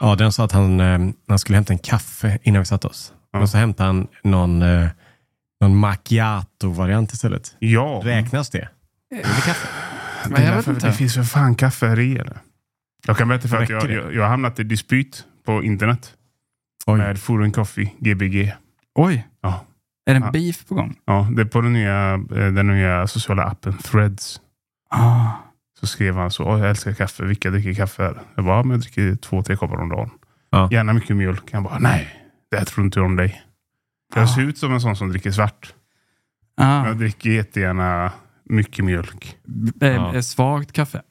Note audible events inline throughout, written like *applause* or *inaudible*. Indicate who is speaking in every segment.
Speaker 1: Ja, den sa att han, eh, han skulle hämta en kaffe innan vi satte oss.
Speaker 2: Ja.
Speaker 1: Och så hämtade han någon, eh, någon macchiato-variant istället.
Speaker 2: Ja,
Speaker 1: Räknas det?
Speaker 2: det,
Speaker 3: Men jag
Speaker 2: är
Speaker 3: vet
Speaker 2: för,
Speaker 3: inte.
Speaker 2: det finns för fan kafferier. Jag kan berätta för att
Speaker 1: Räcker
Speaker 2: jag,
Speaker 1: det?
Speaker 2: jag, jag har hamnat i dispyt på internet
Speaker 1: Oj.
Speaker 2: med Foreign Coffee, GBG.
Speaker 3: Oj,
Speaker 2: Ja.
Speaker 3: är det en
Speaker 2: Ja.
Speaker 3: beef på gång?
Speaker 2: Ja, det är på den nya, eh, den nya sociala appen Threads.
Speaker 3: Ah.
Speaker 2: Så skrev han så, "Åh, jag älskar kaffe, vilka dricker kaffe här? Jag bara, "Ja, men jag dricker två, tre koppar om dagen.
Speaker 1: Ja.
Speaker 2: Gärna mycket mjölk. Han bara, nej, det här tror inte jag om dig.
Speaker 3: Ah.
Speaker 2: Jag ser ut som en sån som dricker svart.
Speaker 3: Ah.
Speaker 2: Jag dricker jättegärna mycket mjölk.
Speaker 3: B- eh,
Speaker 1: Ja.
Speaker 3: Svagt kaffe.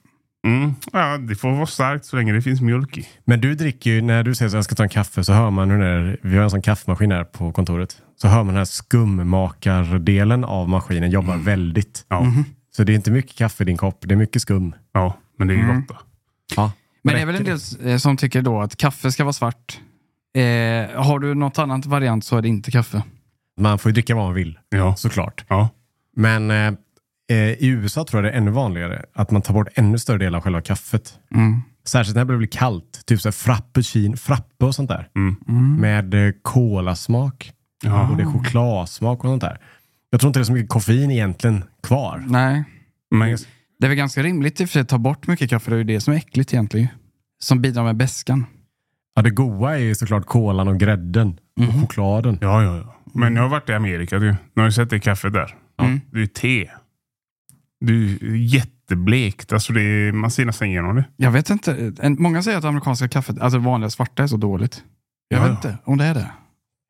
Speaker 2: Mm. Ja, det får vara starkt så länge det finns mjölk i.
Speaker 1: Men du dricker ju, när du säger att jag ska ta en kaffe så hör man hur det är, vi har en sån kaffemaskin här på kontoret. Så hör man den här skummakardelen av maskinen jobbar väldigt.
Speaker 2: Ja,
Speaker 1: Så det är inte mycket kaffe i din kopp, det är mycket skum.
Speaker 2: ja men det är ju
Speaker 3: Mm.
Speaker 2: gott då.
Speaker 3: Men det är väl en del eh, som tycker då att kaffe ska vara svart. Eh, har du något annat variant så är det inte kaffe.
Speaker 1: Man får ju dricka vad man vill,
Speaker 2: Ja.
Speaker 1: såklart.
Speaker 2: Ja.
Speaker 1: Men eh, eh, i USA tror jag det är ännu vanligare att man tar bort ännu större del av själva kaffet.
Speaker 3: Mm.
Speaker 1: Särskilt när det börjar bli kallt, typ så här frappuccin, frappe och sånt där.
Speaker 2: Mm.
Speaker 1: Med eh, kolasmak,
Speaker 2: Ja.
Speaker 1: och det är chokladsmak och sånt där. Jag tror inte det är så mycket koffein egentligen kvar.
Speaker 3: Nej,
Speaker 2: Men,
Speaker 3: det är väl ganska rimligt i och för sig att ta bort mycket kaffe. Det är ju det som är äckligt egentligen. Som bidrar med beskan.
Speaker 1: Ja, det goa är ju såklart kolan och grädden
Speaker 2: Mm.
Speaker 1: och chokladen.
Speaker 2: ja, ja, ja. men jag har varit i Amerika. Du. Nu har ju sett det kaffe där.
Speaker 3: Mm.
Speaker 2: Det är ju te. Det är ju jätteblekt. Alltså det är, man ser nästan igenom det.
Speaker 3: Jag vet inte. Eh, En, många säger att amerikanska kaffet, alltså det vanliga svarta, är så dåligt. Jag
Speaker 2: Ja,
Speaker 3: vet
Speaker 2: ja.
Speaker 3: inte om det är det.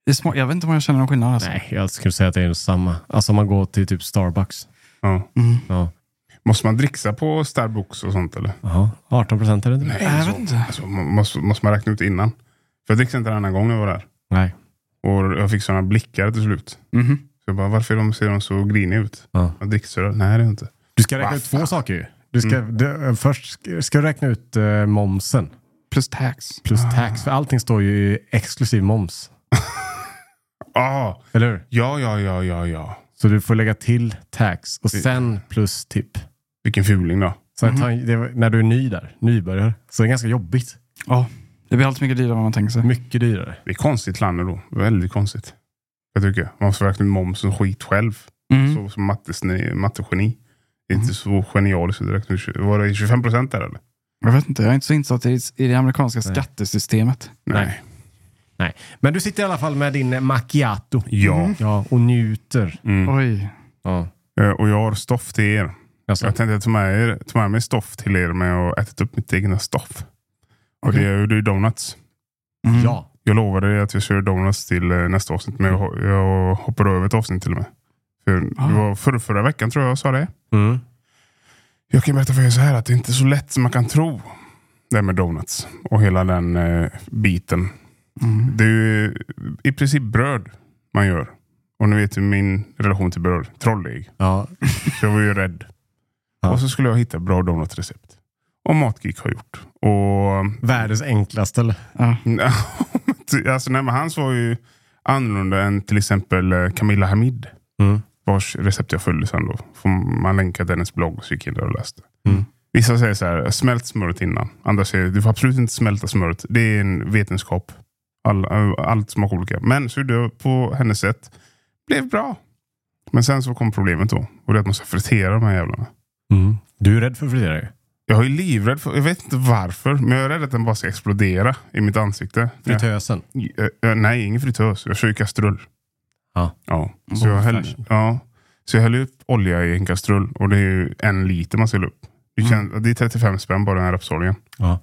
Speaker 3: det är små, jag vet inte om jag känner någon skillnad. Alltså.
Speaker 1: Nej, jag skulle säga att det är samma. Alltså om man går till typ Starbucks.
Speaker 2: Ja.
Speaker 3: Mm.
Speaker 1: Ja,
Speaker 2: Måste man dricksa på Starbucks och sånt eller?
Speaker 1: Jaha, 18 procent är det inte?
Speaker 2: Nej,
Speaker 3: Jag
Speaker 2: så-
Speaker 3: vet inte.
Speaker 2: Alltså, må- måste, måste man räkna ut innan? För jag dricksade inte en annan gång när jag var där.
Speaker 1: Nej.
Speaker 2: Och jag fick sådana blickar till slut.
Speaker 3: Mhm.
Speaker 2: Så jag bara, varför är de, ser de så griniga ut?
Speaker 1: Ja.
Speaker 2: Jag dricksar. Nej, det är inte.
Speaker 1: Du ska räkna
Speaker 2: Va
Speaker 1: ut
Speaker 2: fan.
Speaker 1: två saker ju. Du ska,
Speaker 2: Mm.
Speaker 1: du, eh, först ska- ska du räkna ut eh, momsen
Speaker 3: Plus tax.
Speaker 1: plus tax. För allting står ju i exklusiv moms.
Speaker 2: Ah,
Speaker 1: Eller hur?
Speaker 2: ja, ja, ja, ja, ja.
Speaker 1: Så du får lägga till tax och sen plus tipp.
Speaker 2: Vilken fuling då.
Speaker 1: Så att ta en- det, var- när du är ny där, nybörjare, så är det ganska jobbigt.
Speaker 3: Ja, det blir allt mycket dyrare än vad man tänker sig.
Speaker 1: Mycket dyrare.
Speaker 2: Det är konstigt land då. Väldigt konstigt. Jag tycker. Man måste räkna ut moms och skit själv.
Speaker 3: Mm.
Speaker 2: Så, som mattesne- mattegeni. Det är inte så genialiskt att räkna ut. tjugo- Var det 25 procent där eller?
Speaker 3: Jag vet inte, jag är inte så insatt i, i det amerikanska skattesystemet.
Speaker 1: Nej. Nej. Men du sitter i alla fall med din eh, macchiato.
Speaker 2: Ja.
Speaker 1: Mm. ja och njuter.
Speaker 2: Mm.
Speaker 3: Oj.
Speaker 1: Ja.
Speaker 2: Eh, Och jag har stoff till er.
Speaker 1: Alltså,
Speaker 2: Jag tänkte ta med, er, ta med mig stoff till er, men jag har ätit upp mitt egna stoff. Och
Speaker 3: Okej.
Speaker 2: det är ju det är donuts.
Speaker 3: Mm.
Speaker 1: ja.
Speaker 2: Jag lovade er att jag kör donuts till eh, nästa avsnitt, men jag, ho- jag hoppade över ett avsnitt till och med. För
Speaker 3: Ah.
Speaker 2: det var förra, förra veckan tror jag jag sa det.
Speaker 1: Mm.
Speaker 2: Jag kan berätta för er så här att det är inte så lätt som man kan tro. Det här med donuts och hela den eh, biten.
Speaker 3: Mm.
Speaker 2: Det är ju i princip bröd man gör. Och ni vet ju min relation till bröd. Trollig.
Speaker 1: Ja.
Speaker 2: Så jag var ju rädd.
Speaker 1: Ja.
Speaker 2: Och så skulle jag hitta bra donutrecept. Och Matgeek har gjort. Och
Speaker 1: Världens enklaste. eller?
Speaker 3: Ja.
Speaker 2: Nej, *laughs* alltså, nej, men hans var ju annorlunda än till exempel eh, Camilla Hamid.
Speaker 1: Mm.
Speaker 2: Vars recept jag följde sen då. Får man länka till hennes blogg och så gick jag in där och läste.
Speaker 1: Mm.
Speaker 2: Vissa säger så här, smält smöret innan. Andra säger, du får absolut inte smälta smöret. Det är en vetenskap. All, eh, allt smakar olika. Men så gjorde jag på hennes sätt. Blev bra. Men sen så kom problemet då. Och det är att man ska fritera de här jävlarna.
Speaker 1: Mm. Du är rädd för friterare ju.
Speaker 2: Jag är livrädd för, jag vet inte varför, men jag är rädd att den bara ska explodera i mitt ansikte. Ja.
Speaker 1: Fritösen.
Speaker 2: Eh, eh, Nej, ingen fritös. Jag kör ju kastrull.
Speaker 1: Ja. Mm.
Speaker 2: ja. Så, jag häller,
Speaker 1: Fashion.
Speaker 2: ja. så jag häller upp olja i en kastrull och det är ju en liter man ska hälla upp. Det, kan, det är 35 spänn bara den här rapsoljan.
Speaker 1: Mm. Ja.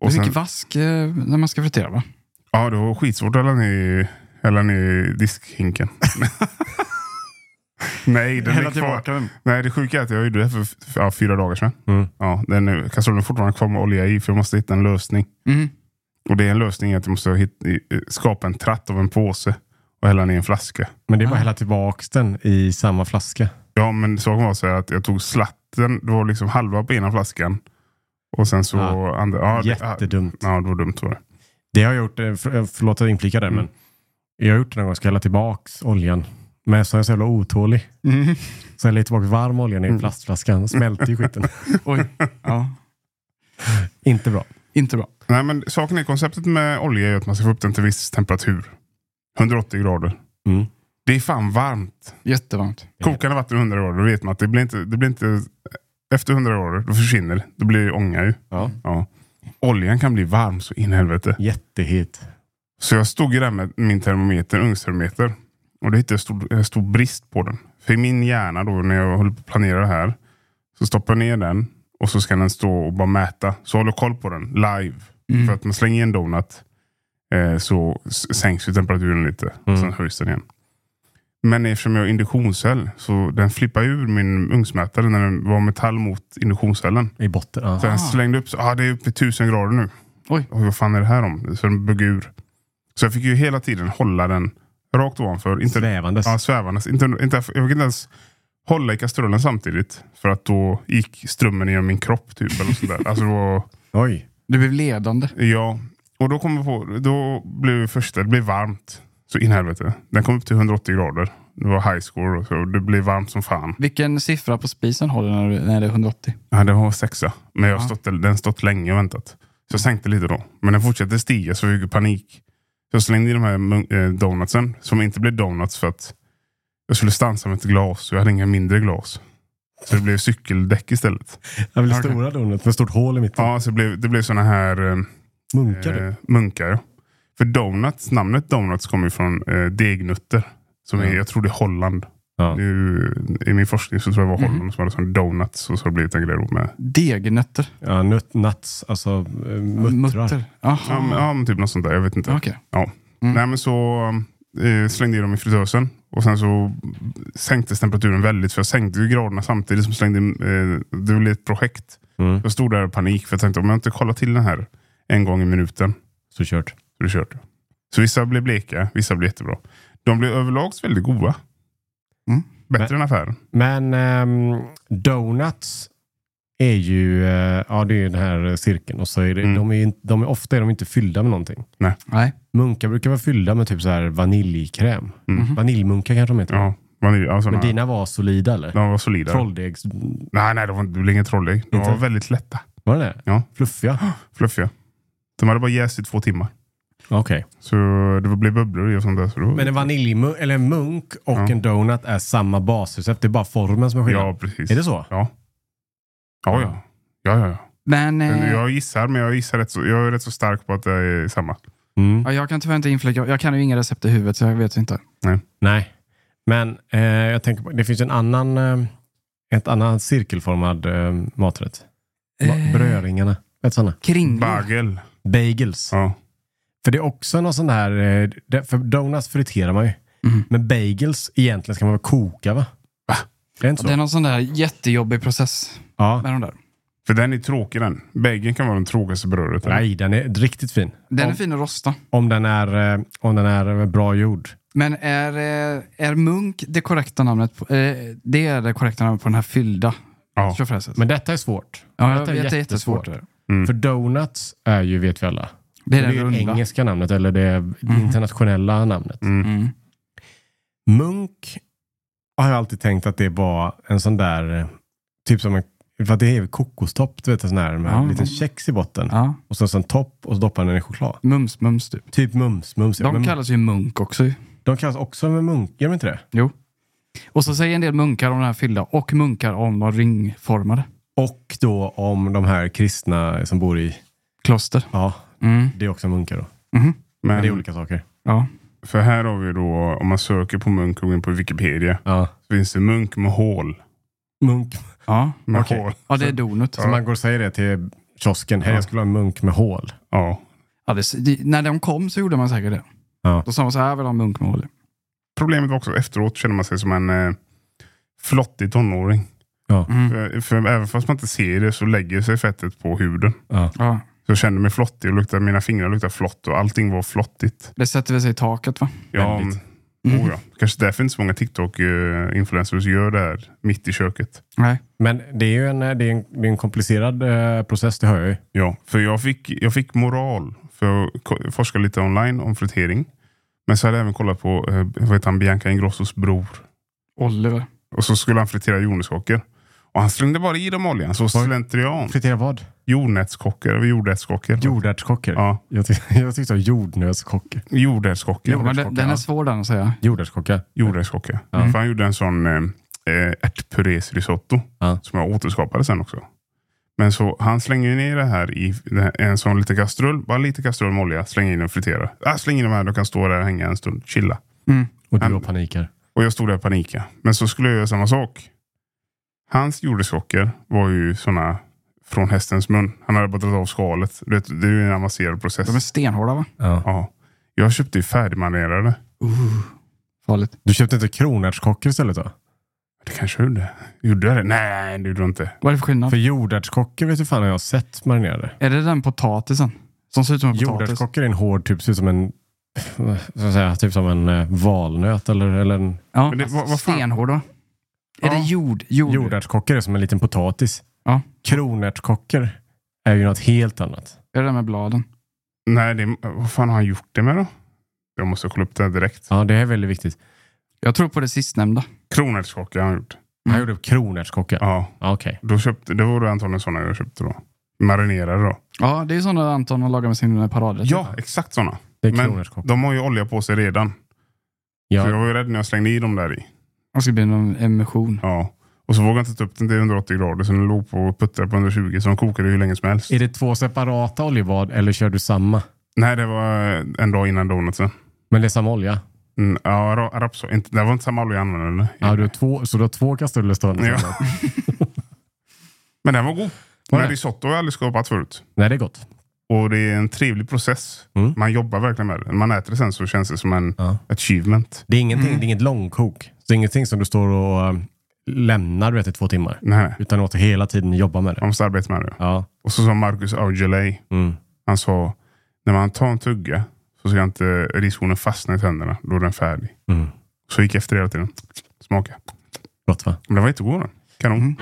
Speaker 3: Och
Speaker 2: Och sen,
Speaker 3: Vilken vask eh, när man ska fritera va?
Speaker 2: ja, det var skitsvårt att hälla ner, hälla ner i
Speaker 1: *laughs*
Speaker 2: diskhinken. Nej, den är kvar.
Speaker 3: den.
Speaker 2: Nej, det sjuka är att jag gjorde det för, för ja, fyra dagar sedan.
Speaker 1: Mm.
Speaker 2: Ja, den är, kastrullen är fortfarande kvar med olja i för jag måste hitta en lösning.
Speaker 3: Mm.
Speaker 2: Och det är en lösning att jag måste hit, eh, skapa en tratt av en påse och hälla ner en flaska.
Speaker 1: Men det är bara
Speaker 3: Ah.
Speaker 1: att hälla tillbaks den i samma flaska.
Speaker 2: Ja, men saken var så här att jag tog slatten. Det var liksom halva på ena flaskan. Och sen så...
Speaker 1: Ja.
Speaker 2: Andra, ja, det-
Speaker 1: Jättedumt.
Speaker 2: Ja, det var dumt var det.
Speaker 1: Det har jag gjort, eh, för, eh, förlåt att jag inflikar
Speaker 2: Mm.
Speaker 1: där, men jag har gjort det någon gång, ska hälla tillbaks oljan. Men så är jag så jävla otålig.
Speaker 3: *laughs* Mm.
Speaker 1: Så häller jag tillbaka varm
Speaker 2: Mm. *laughs*
Speaker 1: olja ner i plastflaskan, smälter ju skiten.
Speaker 3: Oj. Ja.
Speaker 1: Inte bra.
Speaker 3: Inte bra.
Speaker 2: Nej, men saken är konceptet med olja är att man ska få upp den till viss temperatur. 180 grader.
Speaker 1: Mm.
Speaker 2: Det är fan varmt.
Speaker 3: Jättevarmt.
Speaker 2: Kokande vatten i 100 grader, då vet man att det blir inte... Det blir inte efter 100 grader, då försvinner det. Då blir det ånga ju.
Speaker 1: Ja.
Speaker 2: Ja. Oljan kan bli varm så in i helvete.
Speaker 1: Jättehit.
Speaker 2: Så jag stod ju där med min termometer, ugnstermometer. Och då hittade jag stor, eh, stor brist på den. För i min hjärna då, när jag håller på att planera det här. Så stoppar jag ner den och så ska den stå och bara mäta. Så jag håller koll på den live.
Speaker 3: Mm.
Speaker 2: För att man slänger i en donut eh, så s- sänks ju temperaturen lite.
Speaker 1: Mm.
Speaker 2: Och sen höjs den igen. Men eftersom jag har induktionscell så den flippar ur min ugnsmätare när den var metall mot induktionscellen.
Speaker 1: I botten. Ja.
Speaker 2: Så
Speaker 3: Ah.
Speaker 2: den slängde upp, så, ah, det är uppe i tusen grader nu.
Speaker 3: Oj.
Speaker 2: Och vad fan är det här om? Så den bögg ur. Så jag fick ju hela tiden hålla den rakt ovanför. Inte,
Speaker 1: Svävandes.
Speaker 2: Ja, svävandes. Inte, inte, jag fick inte ens hålla i kastrullen samtidigt. För att då gick strömmen genom min kropp typ. Eller sådär. alltså det var,
Speaker 1: Oj.
Speaker 3: Du blev ledande.
Speaker 2: ja. Och då kom jag på, då blev det första, det blev varmt. Så in i helvete. Den kom upp till 180 grader. Det var high score och så. Det blev varmt som fan.
Speaker 3: Vilken siffra på spisen har du när, du, när det är 180?
Speaker 2: Ja, det var sexa. Men jag har
Speaker 3: Ja.
Speaker 2: stått, den har stått länge och väntat. Så jag sänkte lite då. Men den fortsatte stiga så jag fick panik. Så jag slängde i de här mun- eh, donutsen som inte blev donuts för att jag skulle stansa med ett glas och jag hade inga mindre glas. Så det blev cykeldäck istället.
Speaker 1: Det blev
Speaker 2: Ja, okej.
Speaker 1: stora donut med stort hål i mitten.
Speaker 2: Ja, så det blev, det blev såna här eh,
Speaker 1: Munkar du?
Speaker 2: eh, munkar. ja. För donuts, namnet donuts kommer ju från eh, degnutter. Som är,
Speaker 1: Ja.
Speaker 2: jag tror det är Holland.
Speaker 1: Ja.
Speaker 2: Det är ju, I min forskning så tror jag det var
Speaker 3: Mhm.
Speaker 2: Holland som hade sån donuts och så har det blivit en grej då med
Speaker 3: Degnötter.
Speaker 1: Ja, nut, nuts, alltså eh, muttrar.
Speaker 2: Ja, men,
Speaker 3: Aha.
Speaker 2: ja, men typ något sånt där. Jag vet inte.
Speaker 3: Okej.
Speaker 1: Mm.
Speaker 2: Nej, men så eh, slängde jag dem i fritösen. Och sen så sänktes temperaturen väldigt. För jag sänkte ju graderna samtidigt som slängde in, eh, Det blev ett projekt.
Speaker 1: Mm.
Speaker 2: Jag stod där i panik. För jag tänkte om jag inte kollar till den här en gång i minuten.
Speaker 1: Så kört.
Speaker 2: Så det kört. Så vissa blev bleka. Vissa blev jättebra. De blev överlag väldigt goda.
Speaker 3: Mm.
Speaker 2: Bättre än affären.
Speaker 1: Men ehm, donuts är ju, eh, ja det är ju den här cirkeln och så är det,
Speaker 2: Mm.
Speaker 1: de är, ju- de är, ofta är de inte fyllda med någonting.
Speaker 3: Nej.
Speaker 1: Munkar brukar vara fyllda med typ så här vaniljkräm.
Speaker 2: Mm.
Speaker 3: Mhm.
Speaker 1: Vaniljmunkar kanske de heter.
Speaker 2: Ja, vanilj, ja, såna,
Speaker 1: Mm-hmm. Men dina var solida eller?
Speaker 2: de var solida.
Speaker 1: Trolldegs...
Speaker 2: Nej, nej, det, var, det blev ingen trolldeg. De
Speaker 1: Inte?
Speaker 2: var väldigt lätta.
Speaker 1: Var det det?
Speaker 2: Ja.
Speaker 1: Fluffiga?
Speaker 2: Fluffiga. De hade bara jäst i två timmar.
Speaker 1: Okej.
Speaker 2: Så det blev bubblor i och sånt där. Så då,
Speaker 1: Men en vaniljmunk, eller en munk och
Speaker 2: Ja.
Speaker 1: en donut är samma basrecept. Det är bara formen som är skillnad.
Speaker 2: ja, precis.
Speaker 1: Är det så?
Speaker 2: Ja. Ja, ja. ja, ja, ja.
Speaker 3: Men
Speaker 2: Men
Speaker 3: eh,
Speaker 2: Jag gissar, men jag gissar rätt så, jag är rätt så stark på att det är samma.
Speaker 1: Mm.
Speaker 3: ja, jag kan tyvärr inte inflika. Jag kan ju inga recept i huvudet så jag vet inte.
Speaker 1: Nej, men eh, jag tänker på, det finns ju en annan, eh, ett annan cirkelformad eh, maträtt.
Speaker 3: Eh.
Speaker 1: Eh. Brödringarna. Vet sådana.
Speaker 3: Kringlor.
Speaker 2: Bagel.
Speaker 1: Bagels.
Speaker 2: Ja. för
Speaker 1: För det är också någon sån där, eh, det- för donuts friterar man ju.
Speaker 3: Mm.
Speaker 1: Men bagels egentligen ska man väl koka va?
Speaker 2: Va?
Speaker 1: Är det inte så?
Speaker 3: Det är någon sån där jättejobbig process
Speaker 1: Ja.
Speaker 3: med de där.
Speaker 2: För den är tråkig den. Bageln kan vara den tråkigaste brödet.
Speaker 1: Nej, den är riktigt fin.
Speaker 3: Den är
Speaker 1: Om-
Speaker 3: fin att rosta.
Speaker 1: Om den är, eh, om den är eh, bra gjord.
Speaker 3: Men är, eh, är munk det korrekta namnet? På, eh, det är det korrekta namnet på den här fyllda
Speaker 2: Ja.
Speaker 3: köttfärsen?
Speaker 1: Men detta är svårt.
Speaker 3: Ja, jag
Speaker 1: detta
Speaker 3: vet, det är jättesvårt. Mm.
Speaker 1: jättesvårt. Mm. För donuts är ju, vet vi alla,
Speaker 3: Det
Speaker 1: det
Speaker 3: är
Speaker 1: är
Speaker 3: den
Speaker 1: ju
Speaker 3: runda.
Speaker 1: engelska namnet eller det internationella namnet.
Speaker 3: Mm.
Speaker 1: Munk har jag alltid tänkt att det var en sån där, eh, typ som en, för att det är kokostopp, du vet en sån där med
Speaker 3: Ja.
Speaker 1: en liten kex i botten.
Speaker 3: Ja.
Speaker 1: Och sen så en topp och så doppar man den i choklad.
Speaker 3: Mums, mums typ.
Speaker 1: Typ mums, mums.
Speaker 3: De
Speaker 1: men,
Speaker 3: kallas ju munk också. ju.
Speaker 1: de kallas också med munk, gör de inte det?
Speaker 3: Och så säger en del munkar om den här fyllda och munkar om de ringformade.
Speaker 1: Och då om de här kristna som bor i,
Speaker 3: Kloster.
Speaker 1: ja,
Speaker 3: Mm.
Speaker 1: det är också munkar då.
Speaker 3: Mhm.
Speaker 1: Men
Speaker 2: Men,
Speaker 1: det är olika saker.
Speaker 3: Ja.
Speaker 2: För här har vi då, om man söker på munk och går in på Wikipedia,
Speaker 1: Ja.
Speaker 2: så finns det munk med hål.
Speaker 1: Munk.
Speaker 3: Ja.
Speaker 2: Med
Speaker 1: Okej.
Speaker 2: hål.
Speaker 3: ja, det är donut.
Speaker 1: Så man går och säger det till kiosken, hej
Speaker 2: Ja.
Speaker 1: jag skulle ha en munk med hål.
Speaker 2: Ja.
Speaker 3: Ja, det, det, när de kom så gjorde man säkert det.
Speaker 1: Ja.
Speaker 3: Då sa man så här, jag vill ha en munk med hål i."
Speaker 2: Problemet var också efteråt känner man sig som en eh, flottig tonåring.
Speaker 3: Mm.
Speaker 2: För, för även fast man inte ser det så lägger sig fettet på huden.
Speaker 1: Ja.
Speaker 3: Ja.
Speaker 2: Så jag kände mig flottig och luktade, mina fingrar luktade flott och allting var flottigt.
Speaker 3: Det sätter väl sig i taket va?
Speaker 2: Ja,
Speaker 1: Väldigt.
Speaker 2: mm. oh ja. Kanske därför inte så många TikTok-influencers gör det här mitt i köket.
Speaker 3: Nej.
Speaker 1: Men det är ju en, eh, det är en, det är en komplicerad eh, process, det hör jag ju.
Speaker 2: Ja, för jag fick, jag fick moral för att ko- forska lite online om fritering. Men så hade jag även kollat på eh, vad heter han, Bianca Ingrossos bror.
Speaker 3: Oliver.
Speaker 2: Och så skulle han fritera jordnötskakor. Och Och han slängde bara i dem oljan, så slentrian.
Speaker 1: Fritera vad?
Speaker 2: Jordnötskockor, eller jordärtskockor.
Speaker 1: Jordärtskockor?
Speaker 2: Ja,
Speaker 1: Jag, ty- *laughs* jag tyckte det var jordnötskockor.
Speaker 2: jordärtskockor.
Speaker 3: Jo, men den, den är svår den att säga.
Speaker 1: Jordärtskocka?
Speaker 2: Jordärtskocka. För han gjorde en sån eh, eh, ärtpurésrisotto
Speaker 1: Ja.
Speaker 2: som jag återskapade sen också. Men så han slänger ju ner det här i den här- en sån liten kastrull. Bara lite kastrull med olja. Släng in och fritera. Ah, släng in dem här. De kan stå där och hänga en stund. Chilla.
Speaker 1: Och du
Speaker 2: Mm.
Speaker 1: har paniker.
Speaker 2: Och jag stod där och panikade. Men så skulle jag göra samma sak. Hans jordärtskockor var ju såna från hästens mun. Han hade bara dragit av skalet. Du vet, Det är ju en avancerad process.
Speaker 3: De är stenhårda va?
Speaker 1: Ja.
Speaker 2: Ja. Jag köpte ju färdigmanerade.
Speaker 3: Uh, Farligt.
Speaker 1: Du köpte inte kronärtskockor istället då?
Speaker 2: Det kanske jag gjorde. Gjorde jag det? Nej, det gjorde jag inte.
Speaker 3: Vad är det för skillnad?
Speaker 1: För jordärtskockor vet du fan har jag sett marinerade.
Speaker 3: Är det den potatisen? Som ser ut som en potatis?
Speaker 1: Jordärtskockor är en hård, typ ser ut som en vad ska jag säga, typ som en eh, valnöt eller, eller en
Speaker 3: Ja, alltså,
Speaker 2: Men det- vad- vad fan?
Speaker 3: stenhård va? Är
Speaker 2: Ja.
Speaker 3: det jord? Jord.
Speaker 1: jordärtskockor är som en liten potatis.
Speaker 3: Ja.
Speaker 1: Kronärtskockor är ju något helt annat.
Speaker 3: Är det den med bladen?
Speaker 2: Nej, det, vad fan har han gjort det med då? Jag måste kolla upp det här direkt.
Speaker 1: Ja, det är väldigt viktigt.
Speaker 3: Jag tror på det sistnämnda.
Speaker 2: Kronärtskocka har han gjort.
Speaker 1: Han gjorde kronärtskocka.
Speaker 2: Ja,
Speaker 1: Mm. Ja. Okej.
Speaker 2: då köpte, det var då antagligen sådana jag köpte då. Marinerade då.
Speaker 3: Ja, det är sådana Anton har lagat med sin paradrätt.
Speaker 2: Ja, exakt sådana.
Speaker 1: typ. Det är
Speaker 2: Men-
Speaker 1: kronärtskocka.
Speaker 2: De har ju olja på sig redan. Så jag
Speaker 1: Ja.
Speaker 2: var ju rädd när jag slängde i dem där i.
Speaker 3: Det ska bli någon emission.
Speaker 2: Ja. Och så vågade jag inte ta upp den till 180 grader så den låg på och puttrade på 120 så de kokade hur länge som helst.
Speaker 1: Är det två separata oljebad eller kör du samma?
Speaker 2: Nej, det var eh, en dag innan donutsen.
Speaker 1: Men det är samma olja?
Speaker 2: Mm, ja, ra- rapsolja. Inte- Det var inte samma olja jag använde. eller?
Speaker 1: Ja, du har två, så du har två kastruller stående?
Speaker 2: Ja.
Speaker 1: samma.
Speaker 2: Men den var god.
Speaker 1: Var
Speaker 2: Men
Speaker 1: det?
Speaker 2: risotto har jag aldrig skapat förut.
Speaker 1: Nej, det är gott.
Speaker 2: Och det är en trevlig process.
Speaker 1: Mm.
Speaker 2: Man jobbar verkligen med det. När man äter det sen så känns det som en
Speaker 1: Ja.
Speaker 2: achievement.
Speaker 1: Det är, ingenting, det är inget långkok. Så det är ingenting som du står och eh, lämnar du vet, i två timmar.
Speaker 2: Nej, nej.
Speaker 1: Utan du måste hela tiden jobba med det.
Speaker 2: man måste arbeta med det.
Speaker 1: Ja.
Speaker 2: Och så sa Marcus Aujalay,
Speaker 1: Mm.
Speaker 2: han sa när man tar en tugga så ska inte riskornen fastna i tänderna. Då är den färdig.
Speaker 1: Mm.
Speaker 2: Så gick jag efter det hela tiden. Smaka.
Speaker 1: Gott va?
Speaker 2: Men den var jättegod den. Kanon.
Speaker 3: Mm.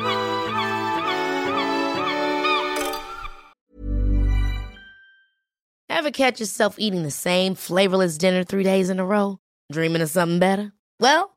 Speaker 4: Ever catch yourself eating the same flavorless dinner three days in a row? Dreaming of something better? Well,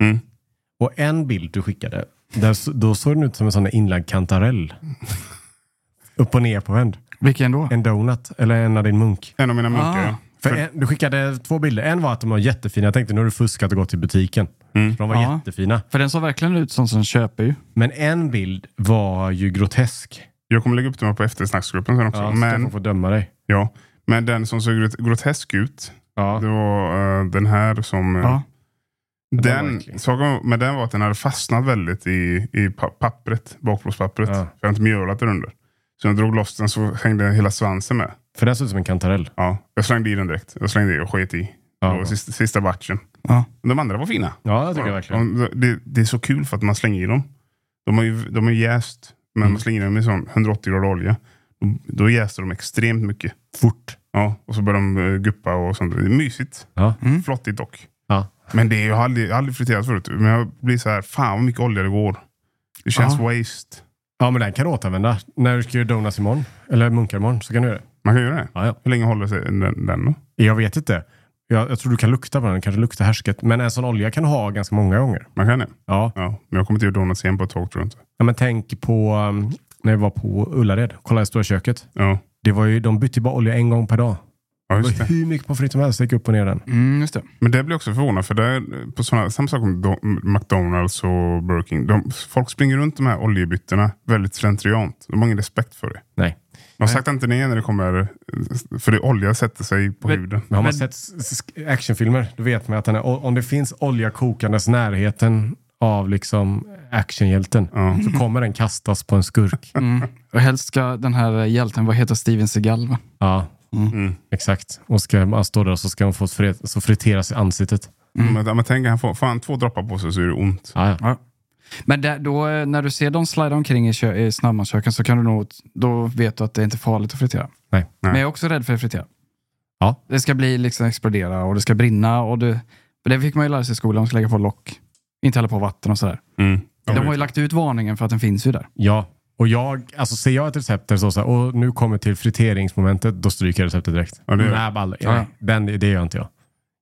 Speaker 2: Mm.
Speaker 1: Och en bild du skickade, där, s- då såg den ut som en sån där inlagd *laughs* kantarell. Upp och ner på vänd.
Speaker 3: Vilken då?
Speaker 1: En donut, eller en av din munk.
Speaker 2: En av mina munkar.
Speaker 3: Ah.
Speaker 2: ja.
Speaker 1: För
Speaker 2: För-
Speaker 1: en, du skickade två bilder. En var att de var jättefina. Jag tänkte nu har du fuskat och gått till butiken. För de var
Speaker 3: Ja.
Speaker 1: jättefina.
Speaker 3: För den såg verkligen ut som som köper ju.
Speaker 1: Men en bild var ju grotesk.
Speaker 2: Jag kommer lägga upp dem här på eftersnacksgruppen sen också.
Speaker 1: Ja, Stefan
Speaker 2: men,
Speaker 1: får döma dig.
Speaker 2: ja. men den som såg grot- grotesk ut,
Speaker 1: Ja.
Speaker 2: det var eh, den här som... eh,
Speaker 3: Ja.
Speaker 1: Den var
Speaker 2: Den,
Speaker 1: äcklig.
Speaker 2: saken med den var att den hade fastnat väldigt i, i pa- pappret, bakplåtspappret.
Speaker 1: Ja.
Speaker 2: För jag hade inte mjölat det under. Så när jag drog loss den så hängde hela svansen med.
Speaker 1: För den såg ut som en kantarell.
Speaker 2: Ja, jag slängde i den direkt. Jag slängde i och sket i.
Speaker 1: Ja.
Speaker 2: Det var sista, sista batchen.
Speaker 3: Ja.
Speaker 2: De andra var fina.
Speaker 1: Ja, jag tycker jag verkligen.
Speaker 2: De- Det, det är så kul för att man slänger i dem. De har ju, de har ju jäst, men
Speaker 1: Mm.
Speaker 2: man slänger i dem i sån 180 grader olja. Då, då jäser de extremt mycket.
Speaker 1: Fort.
Speaker 2: Ja, och så börjar de eh, guppa och sånt. Det är mysigt.
Speaker 1: Ja.
Speaker 3: Mm.
Speaker 2: Flottigt dock.
Speaker 1: Ja.
Speaker 2: Men det är ju aldrig, jag har aldrig friterat förut. Men jag blir så här, fan vad mycket olja det går. Det känns
Speaker 3: Ja.
Speaker 2: waste.
Speaker 1: ja, men den kan du återanvända. När du ska göra donuts imorgon, eller munkar imorgon, så kan du göra det.
Speaker 2: Man kan göra det.
Speaker 1: Ja, ja.
Speaker 2: Hur länge håller sig den, den då?
Speaker 1: Jag vet inte. Jag, jag tror du kan lukta på den. Den kanske luktar härsket. Men en sån olja kan du ha ganska många gånger.
Speaker 2: Man kan det.
Speaker 1: Ja.
Speaker 2: Ja, men jag kommer inte göra donuts igen på ett tag tror jag inte.
Speaker 1: ja men tänk på um, när vi var på Ullared. Kolla i stora köket.
Speaker 2: Ja,
Speaker 1: Det var ju, de bytte ju bara olja en gång per dag.
Speaker 2: Ja,
Speaker 1: Det
Speaker 2: just
Speaker 1: var
Speaker 2: det.
Speaker 1: hur mycket pommes frites som helst, gick upp och ner den.
Speaker 3: Mm, just det.
Speaker 2: Men det blir jag också förvånad för det är på såna, samma sak med Do- McDonalds och Burger King. De, folk springer runt de här oljebyttorna väldigt slentriant. De har ingen respekt för det.
Speaker 1: Nej.
Speaker 2: De saktar inte ner när det kommer, för det olja sätter sig på
Speaker 3: Men-
Speaker 2: huden.
Speaker 1: Men har man
Speaker 3: Men-
Speaker 1: sett s- s- actionfilmer, då vet man att den är, om det finns olja kokandes närheten av liksom actionhjälten
Speaker 2: Ja. *laughs*
Speaker 1: så kommer den kastas på en skurk.
Speaker 3: Mm. Och helst ska den här hjälten, vad heter Steven Seagal va?
Speaker 1: Ja,
Speaker 2: Mm.
Speaker 1: exakt. Och ska man stå där och så ska hon få fri- så friteras i ansiktet.
Speaker 3: Mm.
Speaker 2: Men, men tänk, han får, får han två droppar på sig så är det ont.
Speaker 1: Ja, ja.
Speaker 3: Men där, då, eh, när du ser dem slida omkring i, kö- i snabbmatsköken så kan du nog, då vet du att det är inte är farligt att fritera.
Speaker 1: Nej.
Speaker 3: Men jag är också rädd för att fritera.
Speaker 1: Ja.
Speaker 3: Det ska bli liksom explodera och det ska brinna. Och det, för det fick man ju lära sig i skolan, man ska lägga på lock. Inte hälla på vatten och sådär.
Speaker 2: Mm.
Speaker 3: De har ju lagt ut varningen för att den finns ju där.
Speaker 1: ja. Och jag, alltså ser jag ett recept där det står så här, och nu kommer till friteringsmomentet, då stryker jag receptet direkt.
Speaker 2: Ja, det gör
Speaker 1: nej, ball,
Speaker 3: Ja.
Speaker 1: nej, den, det gör inte jag.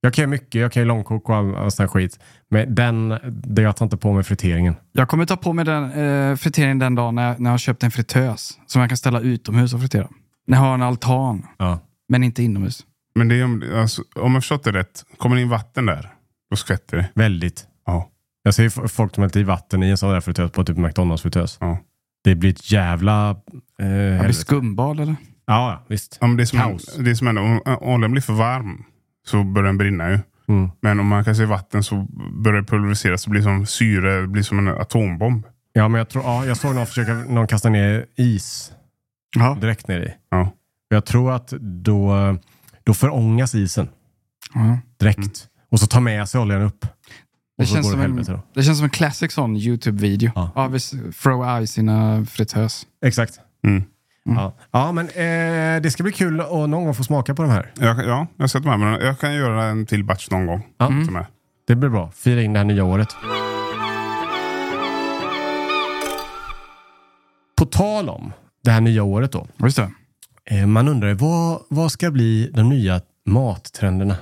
Speaker 1: Jag kan ju mycket, jag kan ju långkok och all, all sån här skit. Men den, det jag tar inte på mig friteringen.
Speaker 3: Jag kommer ta på mig den eh, friteringen den dagen när jag, när jag har köpt en fritös som jag kan ställa utomhus och fritera. När jag har en altan,
Speaker 1: Ja.
Speaker 3: men inte inomhus.
Speaker 2: Men det är, om- alltså, om jag förstått det rätt, kommer det in vatten där, då skvätter det.
Speaker 1: Väldigt.
Speaker 2: Ja.
Speaker 1: Jag ser ju f- folk som häller i vatten i en sån där fritös på typ McDonalds-fritös.
Speaker 2: Ja.
Speaker 1: Det blir ett jävla... Eh,
Speaker 3: Det blir
Speaker 1: helvete.
Speaker 3: skumbad eller?
Speaker 1: ja, ja, visst.
Speaker 2: Ja, men det är som,
Speaker 1: Kaos.
Speaker 2: Det är som händer, om om oljan blir för varm så börjar den brinna ju.
Speaker 1: Mm.
Speaker 2: Men om man kastar i vatten så börjar det pulveriseras. Det blir som syre, det blir som en atombomb.
Speaker 1: Ja, men jag tror... Ja, jag såg någon försöka... Någon kasta ner is
Speaker 3: Ja.
Speaker 1: direkt ner i.
Speaker 2: Ja.
Speaker 1: Jag tror att då, då förångas isen
Speaker 3: ja.
Speaker 1: direkt. Och så tar med sig oljan upp.
Speaker 3: Det
Speaker 1: Och så
Speaker 3: känns
Speaker 1: går det
Speaker 3: som en-
Speaker 1: helvete då.
Speaker 3: Det känns som en classic sån YouTube-video.
Speaker 1: Ja.
Speaker 3: Ja. vi s- throw ice in a fritös.
Speaker 1: Exakt.
Speaker 2: Mm.
Speaker 3: Mm.
Speaker 1: Ja. ja, men eh, det ska bli kul att någon gång få smaka på de här.
Speaker 2: Jag, ja, jag har sett de här. Men jag kan göra en till batch någon gång. Mm.
Speaker 1: Ja.
Speaker 2: Som är.
Speaker 1: Det blir bra. Fira in det här nya året. På tal om det här nya året då.
Speaker 3: Just det.
Speaker 1: Eh, Man undrar ju, vad, vad ska bli de nya mattrenderna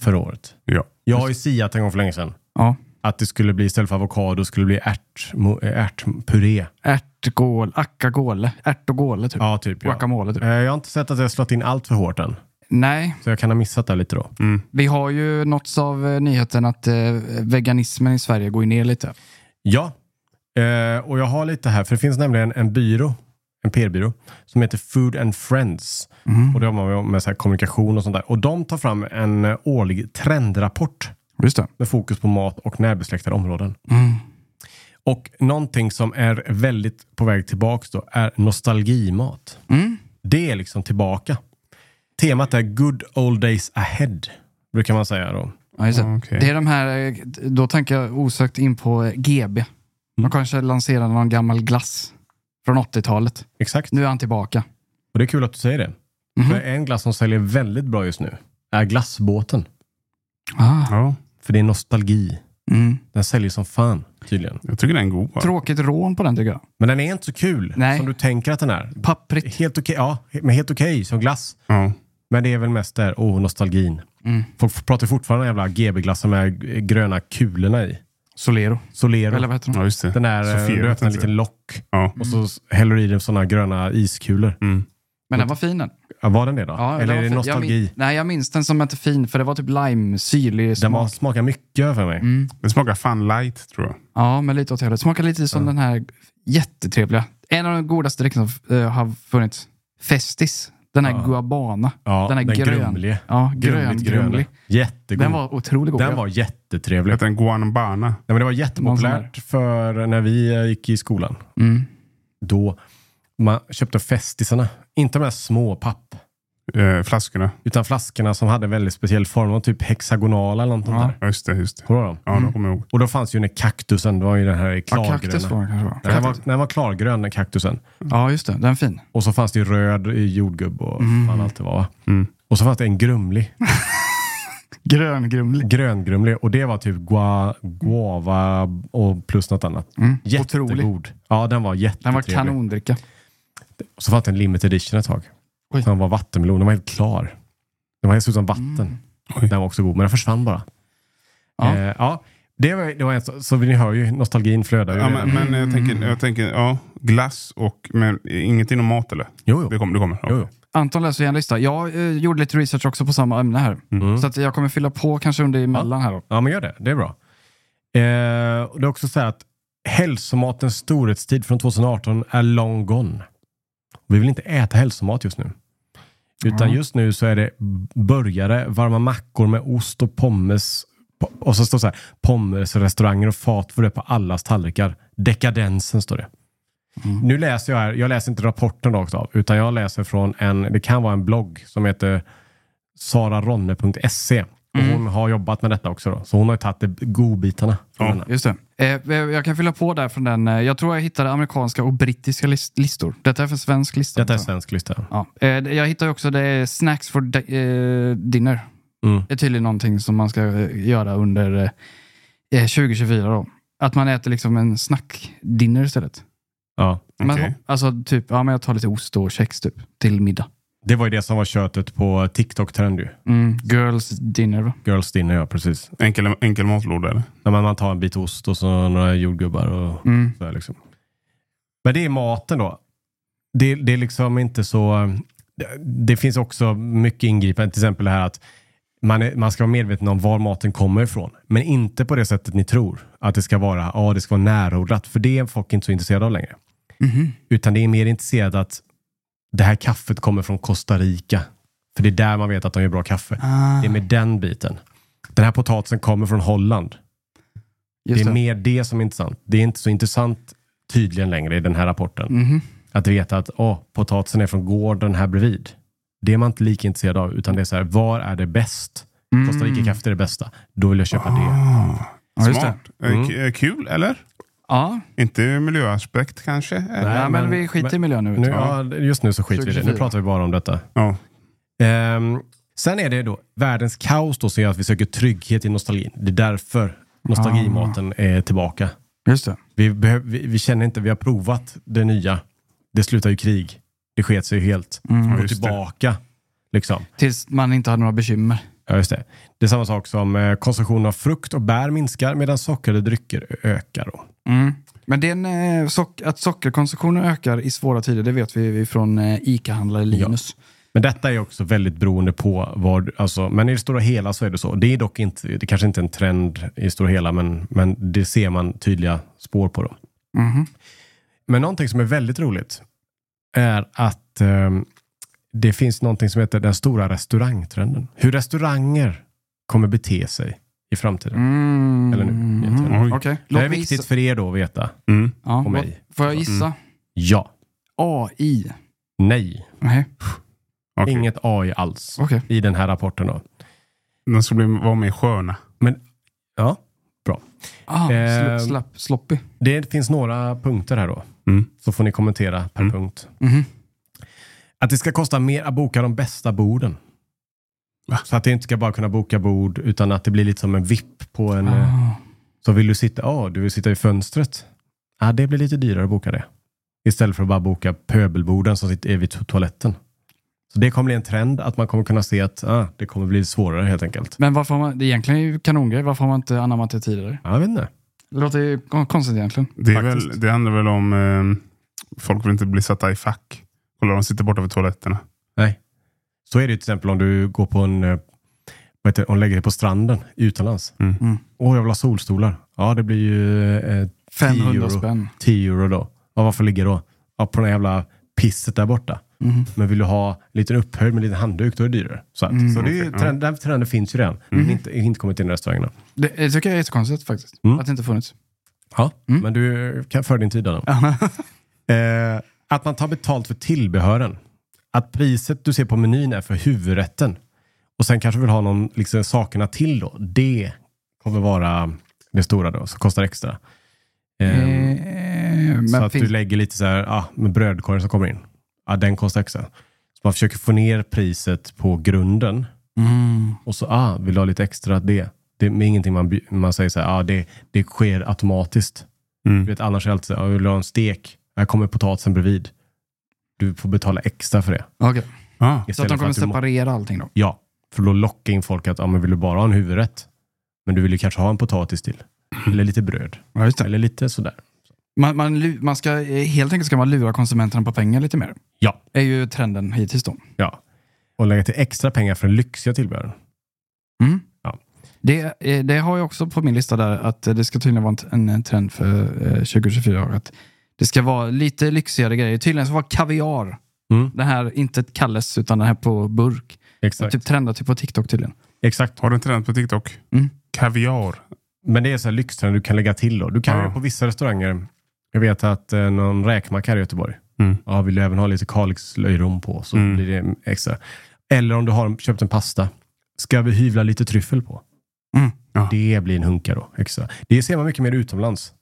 Speaker 1: för året?
Speaker 2: Ja.
Speaker 1: Jag har ju siat en gång för länge sedan
Speaker 3: Ja.
Speaker 1: att det skulle bli istället för avokado skulle det bli ärt, mo- eh, ärtpuré.
Speaker 3: Ärtgål, akkagåle, ärt och gåle typ.
Speaker 1: Ja, typ. Ja.
Speaker 3: Guacamole typ.
Speaker 1: Eh, Jag har inte sett att jag har slått in allt för hårt än.
Speaker 3: Nej,
Speaker 1: Så jag kan ha missat det lite då.
Speaker 3: vi har ju nåtts av eh, nyheten att eh, veganismen i Sverige går ju ner lite.
Speaker 1: Ja, eh, och jag har lite här, för det finns nämligen en byrå, en PR-byrå, som heter Food and Friends.
Speaker 3: Mm.
Speaker 1: Och det har man med så här kommunikation och sånt där. Och de tar fram en eh, årlig trendrapport
Speaker 3: Just det.
Speaker 1: med fokus på mat och närbesläktade områden.
Speaker 3: Mm.
Speaker 1: Och någonting som är väldigt på väg tillbaks då är nostalgimat.
Speaker 3: Mm.
Speaker 1: Det är liksom tillbaka. Temat är good old days ahead, brukar man säga då.
Speaker 3: Ja, just det.
Speaker 2: Ja, okej.
Speaker 3: det är de här, eh, då tänker jag osökt in på eh, GB. De kanske lanserade någon gammal glass från 80-talet.
Speaker 1: Exakt.
Speaker 3: Nu är han tillbaka.
Speaker 1: Och det är kul att du säger det.
Speaker 3: Mhm.
Speaker 1: För en glass som säljer väldigt bra just nu är glassbåten.
Speaker 3: Ah.
Speaker 2: ja.
Speaker 1: För det är nostalgi.
Speaker 3: Mm.
Speaker 1: Den säljer som fan tydligen.
Speaker 2: Jag tycker den är god. Bara.
Speaker 3: Tråkigt rån på den tycker jag.
Speaker 1: Men den är inte så kul
Speaker 3: Nej.
Speaker 1: som du tänker att den är.
Speaker 3: Papprigt.
Speaker 1: Helt okej, ja, men helt okej som glass.
Speaker 2: Ja.
Speaker 1: Men det är väl mest där, åh, nostalgin.
Speaker 3: Mm.
Speaker 1: Folk pratar fortfarande om jävla GB-glassen med gröna kulorna i.
Speaker 3: Solero.
Speaker 1: Solero.
Speaker 3: Eller vad Mm. heter de?
Speaker 2: ja, just det.
Speaker 1: Den där,
Speaker 2: Sofia,
Speaker 1: eh, du
Speaker 2: vet
Speaker 1: öppnar en
Speaker 2: inte.
Speaker 1: liten lock
Speaker 2: Ja.
Speaker 1: och så s- häller du i den sådana gröna iskulor.
Speaker 2: Mm.
Speaker 3: Men den var fin den.
Speaker 1: Ja, var den det då?
Speaker 3: Ja,
Speaker 1: Eller är
Speaker 3: den var
Speaker 1: det
Speaker 3: fin. Jag
Speaker 1: nostalgi?
Speaker 3: min, nej, jag minns den som inte fin, för det var typ lime, syrlig
Speaker 1: Den
Speaker 3: smak.
Speaker 1: var, smakar mycket för mig.
Speaker 3: Mm.
Speaker 2: Den smakar fan light tror jag.
Speaker 3: Ja, men lite åt det hållet. Smakar lite som den här jättetrevliga. En av de godaste dryckerna som eh, har funnits. Festis. Den här
Speaker 1: Ja.
Speaker 3: guabana.
Speaker 1: Ja,
Speaker 3: den här grön.
Speaker 1: grumlige.
Speaker 3: Ja, grön,
Speaker 1: Grumligt grön.
Speaker 3: grumlig.
Speaker 1: Jättegod.
Speaker 3: Den var otroligt god.
Speaker 1: Den
Speaker 3: ja.
Speaker 1: var jättetrevlig.
Speaker 2: Den heter en guanabana.
Speaker 1: Nej, men det var
Speaker 3: Någon
Speaker 1: jättepopulärt för när vi eh, gick i skolan.
Speaker 3: Mm.
Speaker 1: Då man köpte festisarna. Inte de här små papp,
Speaker 2: Eh, flaskorna.
Speaker 1: utan flaskorna som hade en väldigt speciell form. De var typ hexagonala eller något sånt
Speaker 3: Ja.
Speaker 1: där.
Speaker 2: Ja, just det. Just det.
Speaker 1: Kommer du ihåg dem?
Speaker 2: Ja, då kommer jag ihåg.
Speaker 1: Och då fanns ju den här kaktusen. Det var ju den här
Speaker 3: Ja,
Speaker 1: klargröna.
Speaker 3: kaktus var den kanske var.
Speaker 1: den, var,
Speaker 3: Kaktus.
Speaker 1: den var klargrön, den kaktusen.
Speaker 3: Ja, just det. Den är fin.
Speaker 1: Och så fanns det ju röd i jordgubb och fan allt det var. va?
Speaker 2: Mm.
Speaker 1: Och så fanns det en grumlig,
Speaker 3: Gröngrumlig.
Speaker 1: gröngrumlig. Och det var typ gua, guava och plus något annat.
Speaker 3: Mm.
Speaker 1: Jättegod.
Speaker 3: Otrolig.
Speaker 1: Ja, den var jättetrevlig.
Speaker 3: Den var kanondricka.
Speaker 1: Och så fanns det en limited edition ett tag.
Speaker 3: Oj.
Speaker 1: Den var vattenmelon. Den var helt klar. Den var helt som vatten.
Speaker 2: Oj.
Speaker 1: Den var också god, men den försvann bara.
Speaker 3: Mm. Ja.
Speaker 1: Eh, ja. Det var, det var en, så, så ni hör ju, nostalgin flödar ju.
Speaker 2: Ja,
Speaker 1: redan.
Speaker 3: Mm.
Speaker 2: men, men jag tänker, jag tänker ja, Glass och... Men inget inom mat eller?
Speaker 1: Jo,
Speaker 2: Det
Speaker 1: jo.
Speaker 2: kommer. Det kommer.
Speaker 1: jo, jo.
Speaker 3: Anton läser ju en lista. Jag eh, gjorde lite research också på samma ämne här. Så att jag kommer fylla på kanske under emellan här. Då.
Speaker 1: Mm. Ja, men gör det. Det är bra. Eh, och det är också så här att hälsomatens storhetstid från 2018 är long gone. Vi vill inte äta hälsomat just nu. Utan just nu så är det burgare, varma mackor med ost och pommes. Po- Och så står det så här, pommesrestauranger och fat för det på allas tallrikar. Dekadensen står det. Nu läser jag här, jag läser inte rapporten rakt av, utan jag läser från en, det kan vara en blogg som heter sararonne.se. Och Hon har jobbat med detta också då, så hon har ju tagit de godbitarna. från denna.
Speaker 3: Just det. Eh, eh, jag kan fylla på där från den. eh, Jag tror jag hittade amerikanska och brittiska lis- listor. Detta är för svensk lista.
Speaker 1: Detta är
Speaker 3: antar jag.
Speaker 1: svensk lista.
Speaker 3: Ja. Eh, jag hittade ju också det är snacks for di- eh, dinner.
Speaker 1: Mm.
Speaker 3: Det är tydligen någonting som man ska eh, göra under eh, 2024. Då. Att man äter liksom en snackdinner istället.
Speaker 1: Ja.
Speaker 3: Man,
Speaker 2: Okej.
Speaker 3: Alltså typ, ja men jag tar lite ost och kex typ till middag.
Speaker 1: Det var ju det som var köttet på TikTok-trend ju.
Speaker 3: Mm, girls dinner va?
Speaker 1: Girls dinner, ja precis.
Speaker 2: Enkel, enkel matlåda eller?
Speaker 1: När man, man tar en bit ost och så några jordgubbar och
Speaker 3: Mm.
Speaker 1: sådär liksom. Men det är maten då. Det, det är liksom inte så... det- Det finns också mycket ingripande, till exempel det här att man, är, man ska vara medveten om var maten kommer ifrån. Men inte på det sättet ni tror. Att det ska vara, ja det ska vara närodlat. För det är folk inte så intresserade av längre.
Speaker 3: Mhm.
Speaker 1: Utan det är mer intresserat att det här kaffet kommer från Costa Rica. För det är där man vet att de gör bra kaffe. Det är med den biten. Den här potatisen kommer från Holland. Det
Speaker 3: Just
Speaker 1: är
Speaker 3: det.
Speaker 1: mer det som är intressant. Det är inte så intressant tydligen längre i den här rapporten.
Speaker 3: Mhm.
Speaker 1: Att veta att åh, potatisen är från gården här bredvid. Det är man inte lika intresserad av, utan det är så här, var är det bäst? Costa
Speaker 3: Mm.
Speaker 1: Rica-kaffet är det bästa. Då vill jag köpa
Speaker 3: Ah,
Speaker 1: det.
Speaker 3: Ja, just det. Mm.
Speaker 2: Smart. Eh, k- eh, Kul eller?
Speaker 3: Ja,
Speaker 2: Inte miljöaspekt kanske? Eh, Eller?
Speaker 3: nej, men,
Speaker 1: men-
Speaker 3: vi skiter i miljön nu.
Speaker 1: Nu, ja, just nu så skiter vi i det. Nu
Speaker 3: 2024.
Speaker 1: pratar vi bara om detta.
Speaker 2: Ja.
Speaker 1: Ehm, sen är det då världens kaos då som gör att vi söker trygghet i nostalgin. Det är därför nostalgimaten
Speaker 2: Ah.
Speaker 1: är tillbaka.
Speaker 3: Just det.
Speaker 1: Vi, behöv, vi, vi känner inte, vi har provat det nya. Det slutar ju krig. Det sket sig ju helt.
Speaker 2: Mm. Ja,
Speaker 1: Gå
Speaker 2: just det.
Speaker 1: tillbaka. Liksom.
Speaker 3: Tills man inte hade några bekymmer.
Speaker 1: Ja, just det. det är samma sak som eh, konsumtion av frukt och bär minskar medan sockrade drycker ökar. Då.
Speaker 3: Mm. Men den, eh, sock, att sockerkonsumtionen ökar i svåra tider, det vet vi från eh, ICA-handlare Linus.
Speaker 1: Men detta är också väldigt beroende på vad, alltså, men i det stora hela så är det så. Det är dock inte, det kanske inte är en trend i det stora hela, men, men det ser man tydliga spår på. Då.
Speaker 3: Mhm.
Speaker 1: Men någonting som är väldigt roligt är att ehm, det finns någonting som heter den stora restaurangtrenden. Hur restauranger kommer bete sig i framtiden.
Speaker 3: Mm.
Speaker 1: Eller nu, egentligen.
Speaker 2: Oj.
Speaker 3: Okej.
Speaker 1: Det
Speaker 3: Låt
Speaker 1: här är
Speaker 3: mig
Speaker 1: viktigt
Speaker 3: gissa.
Speaker 1: för er då att veta.
Speaker 2: Mm.
Speaker 1: på
Speaker 3: ja, låt-
Speaker 1: mig. Mm.
Speaker 3: Får jag gissa?
Speaker 1: Ja,
Speaker 3: AI?
Speaker 1: nej,
Speaker 3: Nej,
Speaker 2: Okej.
Speaker 1: inget AI alls
Speaker 3: okej.
Speaker 1: i den här rapporten. Då.
Speaker 2: Den ska bli, vara mer sköna.
Speaker 1: Ja, Eh,
Speaker 3: Ah, sl- slapp, sloppy.
Speaker 1: det finns några punkter här då.
Speaker 2: Mm.
Speaker 1: Så får ni kommentera per punkt.
Speaker 3: Mhm.
Speaker 1: Att det ska kosta mer att boka de bästa borden. Så att det inte ska bara kunna boka bord utan att det blir lite som en vipp på en... eh,
Speaker 3: Ah.
Speaker 1: Så vill du sitta, ja, du vill sitta i fönstret. Ja, det blir lite dyrare att boka det. Istället för att bara boka pöbelborden som sitter vid to- toaletten. Så det kommer bli en trend att man kommer kunna se att ah, det kommer bli svårare helt enkelt.
Speaker 3: Men varför har man, det är egentligen ju kanongrej, varför har man inte anammat det tidigare?
Speaker 1: Ja, Jag vet inte.
Speaker 3: Det låter ju kon- konstigt egentligen.
Speaker 2: Det, är
Speaker 1: Faktiskt.
Speaker 2: väl, det handlar väl om eh, folk vill inte bli satta i fack. Kolla, de sitter borta vid toaletterna.
Speaker 1: Nej. Så är det ju till exempel om du går på en, eh, vad heter det, om du lägger dig på stranden utomlands. Åh,
Speaker 2: Mm.
Speaker 3: Mm.
Speaker 1: jag vill ha solstolar. Ja, det blir ju eh,
Speaker 3: 500
Speaker 1: euro.
Speaker 3: spänn.
Speaker 1: 10 euro då. Ja, varför ligger då? Ja, på den jävla pisset där borta.
Speaker 3: Mhm.
Speaker 1: Men vill du ha en liten upphöjd med en liten handduk, då är det dyrare. Så, att, så det är ju,
Speaker 2: Okej,
Speaker 1: trend, den trenden finns ju redan. Men inte, inte kommit in i restaurangerna.
Speaker 3: Det, det tycker jag är jättekonstigt faktiskt.
Speaker 1: Mm.
Speaker 3: Att det inte funnits.
Speaker 1: Ja, Mm. men du kan för din tid Adam. *laughs* eh, att man tar betalt för tillbehören. Att priset du ser på menyn är för huvudrätten. Och sen kanske vill ha någon, liksom, sakerna till då. Det kommer vara det stora då, som kostar extra. Ehm,
Speaker 3: Mm. Eh, men
Speaker 1: så att
Speaker 3: finns-
Speaker 1: du lägger lite så här, ah, med brödkorgen som kommer in. Ah, den kostar extra. Så man försöker få ner priset på grunden.
Speaker 3: Mm.
Speaker 1: Och så, ah, vill du ha lite extra det? Det är ingenting man, by- man säger så här, ah, det, det sker automatiskt.
Speaker 2: Mm.
Speaker 1: Du vet, annars är det alltid så här, ah, vill du ha en stek? Här kommer potatisen bredvid. Du får betala extra för det.
Speaker 3: Okej.
Speaker 2: Ah.
Speaker 3: Så
Speaker 1: för
Speaker 3: att de kommer
Speaker 1: du må-
Speaker 3: separera allting då?
Speaker 1: Ja, för då lockar in folk att, ah, men vill du bara ha en huvudrätt? Men du vill ju kanske ha en potatis till. Eller lite bröd.
Speaker 3: Ja, just
Speaker 1: Eller lite sådär.
Speaker 3: Man, man, lu- man ska, eh, helt enkelt ska man lura konsumenterna på pengar lite mer.
Speaker 1: Ja.
Speaker 3: är ju trenden hittills då.
Speaker 1: ja. Och lägga till extra pengar för den lyxiga tillbehören.
Speaker 3: Mm.
Speaker 1: Ja.
Speaker 3: Det, eh, det har jag också på min lista där, att eh, det ska tydligen vara en, en trend för eh, 2024. Att det ska vara lite lyxigare grejer. Tydligen ska det vara kaviar.
Speaker 1: Mm.
Speaker 3: Den här, inte Kalles, utan den här på burk.
Speaker 1: Exakt.
Speaker 3: Typ trendar typ på TikTok tydligen.
Speaker 1: Exakt.
Speaker 2: Har du en trend på TikTok?
Speaker 3: Mm.
Speaker 2: Kaviar.
Speaker 1: Men det är så här lyxtrend du kan lägga till då. Du kan
Speaker 2: Ja.
Speaker 1: ju på vissa restauranger. Jag vet att eh, någon räkmacka här i Göteborg.
Speaker 2: Mm.
Speaker 1: Ja, vill du även ha lite Kalix löjrom på så
Speaker 2: Mm.
Speaker 1: blir det extra. Eller om du har köpt en pasta. Ska vi hyvla lite tryffel på?
Speaker 3: Mm.
Speaker 2: Ja.
Speaker 1: Det blir en hunka då. Extra. Det ser man mycket mer utomlands.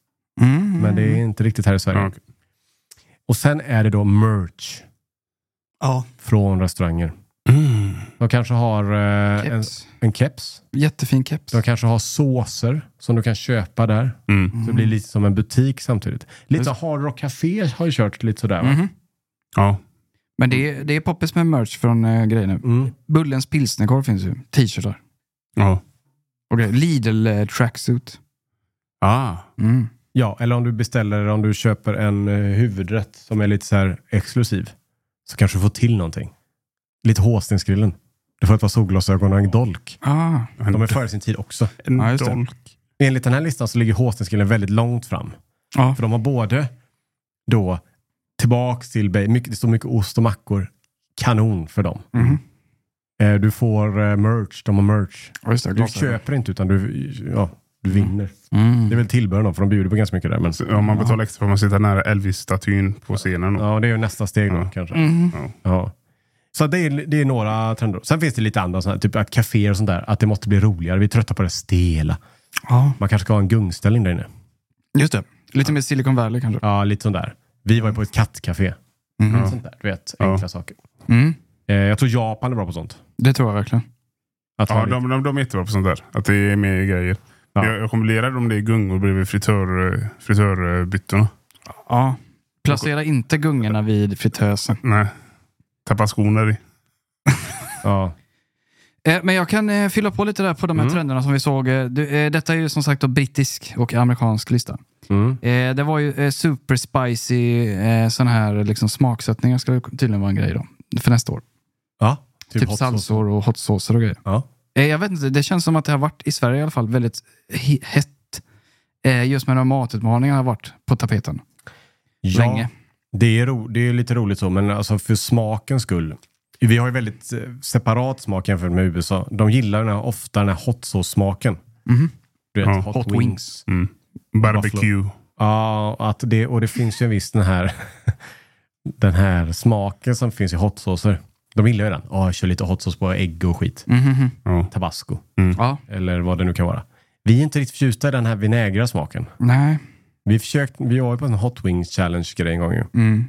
Speaker 1: Mm. Men det är inte riktigt här i Sverige.
Speaker 2: Mm. Ja, okej.
Speaker 1: Och sen är det då merch
Speaker 3: ja.
Speaker 1: från restauranger.
Speaker 3: Mm.
Speaker 1: De kanske har eh, en,
Speaker 3: Keps.
Speaker 1: en keps.
Speaker 3: Jättefin keps.
Speaker 1: De kanske har såser som du kan köpa där.
Speaker 2: Mm.
Speaker 1: Så det blir lite som en butik samtidigt. Lite
Speaker 3: Just-
Speaker 1: som Hard Rock Café har ju kört lite sådär. Va?
Speaker 3: Mhm.
Speaker 2: Ja.
Speaker 3: Men det är, det är poppis med merch från eh, grejer nu.
Speaker 1: Mm.
Speaker 3: Bullens pilsnerkorv finns ju. T-shirtar.
Speaker 2: ja.
Speaker 3: Och grejer. Lidl eh, tracksuit.
Speaker 2: Ah.
Speaker 3: Mm.
Speaker 1: Ja, eller om du beställer, om du köper en eh, huvudrätt som är lite så här exklusiv. Så kanske du får till någonting. Lite håstensgrillen. Du får ett par solglasögon och en dolk.
Speaker 3: Ah.
Speaker 2: En,
Speaker 1: De är före sin tid också.
Speaker 2: en
Speaker 3: Ja, just det.
Speaker 2: dolk.
Speaker 1: Enligt den här listan så ligger håstensgrillen väldigt långt fram.
Speaker 3: Ja.
Speaker 1: För de har både då tillbaks till, ba- mycket, det står mycket ost och mackor. Kanon för dem.
Speaker 3: Mhm.
Speaker 1: Eh, Du får eh, merch, de har merch.
Speaker 3: Ja, just det.
Speaker 1: Du
Speaker 3: glasögon. Mm.
Speaker 1: köper inte utan du, ja, du vinner. Det är väl tillbehören då, för de bjuder på ganska mycket där. Men,
Speaker 2: Så, Mm. ja, man betalar extra för att man sitter nära Elvis-statyn på scenen. Och,
Speaker 1: ja, det är ju nästa steg då
Speaker 2: Ja.
Speaker 1: kanske.
Speaker 3: Mm.
Speaker 1: Ja. Så det är, det är några trender. Sen finns det lite andra, sådana här, typ att kaféer och sånt där, att det måste bli roligare. Vi är trötta på det stela.
Speaker 3: Ja,
Speaker 1: Man kanske ska ha en gungställning där inne.
Speaker 3: just det. Lite mer Silicon Valley kanske.
Speaker 1: Ja, lite sånt där. Vi var ju på ett kattcafé.
Speaker 3: Mm.
Speaker 2: Ja.
Speaker 1: Sånt där, du vet.
Speaker 2: Ja.
Speaker 1: Enkla saker.
Speaker 3: Mm.
Speaker 1: Eh, jag tror Japan är bra på sånt.
Speaker 3: Det tror jag verkligen.
Speaker 1: Att ha
Speaker 2: ja,
Speaker 1: lite-
Speaker 2: de, de, de är jättebra på sånt där. Att det är mer grejer.
Speaker 1: Ja.
Speaker 2: Jag, jag kommer bli rädd om det är gungor bredvid fritör, eh, fritörbyttorna.
Speaker 3: Ja. Placera inte gungorna vid fritösen.
Speaker 2: Nej. Tappa skorna i.
Speaker 1: ja.
Speaker 3: Eh, Men jag kan eh, fylla på lite där på de här
Speaker 1: Mm.
Speaker 3: trenderna som vi såg. Eh, du, eh, Detta är ju som sagt då brittisk och amerikansk lista.
Speaker 1: Mm.
Speaker 3: Eh, Det var ju eh, super spicy eh, sån här liksom smaksättningar ska ju tydligen vara en grej då. För nästa år.
Speaker 1: ja.
Speaker 3: Typ,
Speaker 1: hot sauce.
Speaker 3: salsor och hot saucer och grejer.
Speaker 1: Ja.
Speaker 3: Eh, Jag vet inte, det känns som att det har varit i Sverige i alla fall väldigt he- hett. Eh, Just med de här matutmaningarna har varit på tapeten
Speaker 1: Ja,
Speaker 3: länge.
Speaker 1: Det är, ro, det är lite roligt så, men alltså för smakens skull. Vi har ju väldigt eh, separat smak jämfört med USA. De gillar ju den här, ofta den här hot sauce-smaken.
Speaker 3: Mhm.
Speaker 1: Du vet,
Speaker 2: Ja,
Speaker 1: hot,
Speaker 3: hot
Speaker 1: wings.
Speaker 3: wings.
Speaker 2: Mm. Barbecue.
Speaker 1: Ja, att det, och det finns ju en viss den här, *laughs* den här smaken som finns i hot saucer. De gillar ju den. Ja, jag kör lite hot sauce på ägg och skit.
Speaker 3: Mhm.
Speaker 2: Ja.
Speaker 1: Tabasco,
Speaker 3: Ja,
Speaker 1: eller vad det nu kan vara. Vi är inte riktigt förtjusta i den här vinägra smaken.
Speaker 3: nej.
Speaker 1: Vi, försökt, vi var ju på en hot wings challenge-grej en gång ju.
Speaker 3: Mm.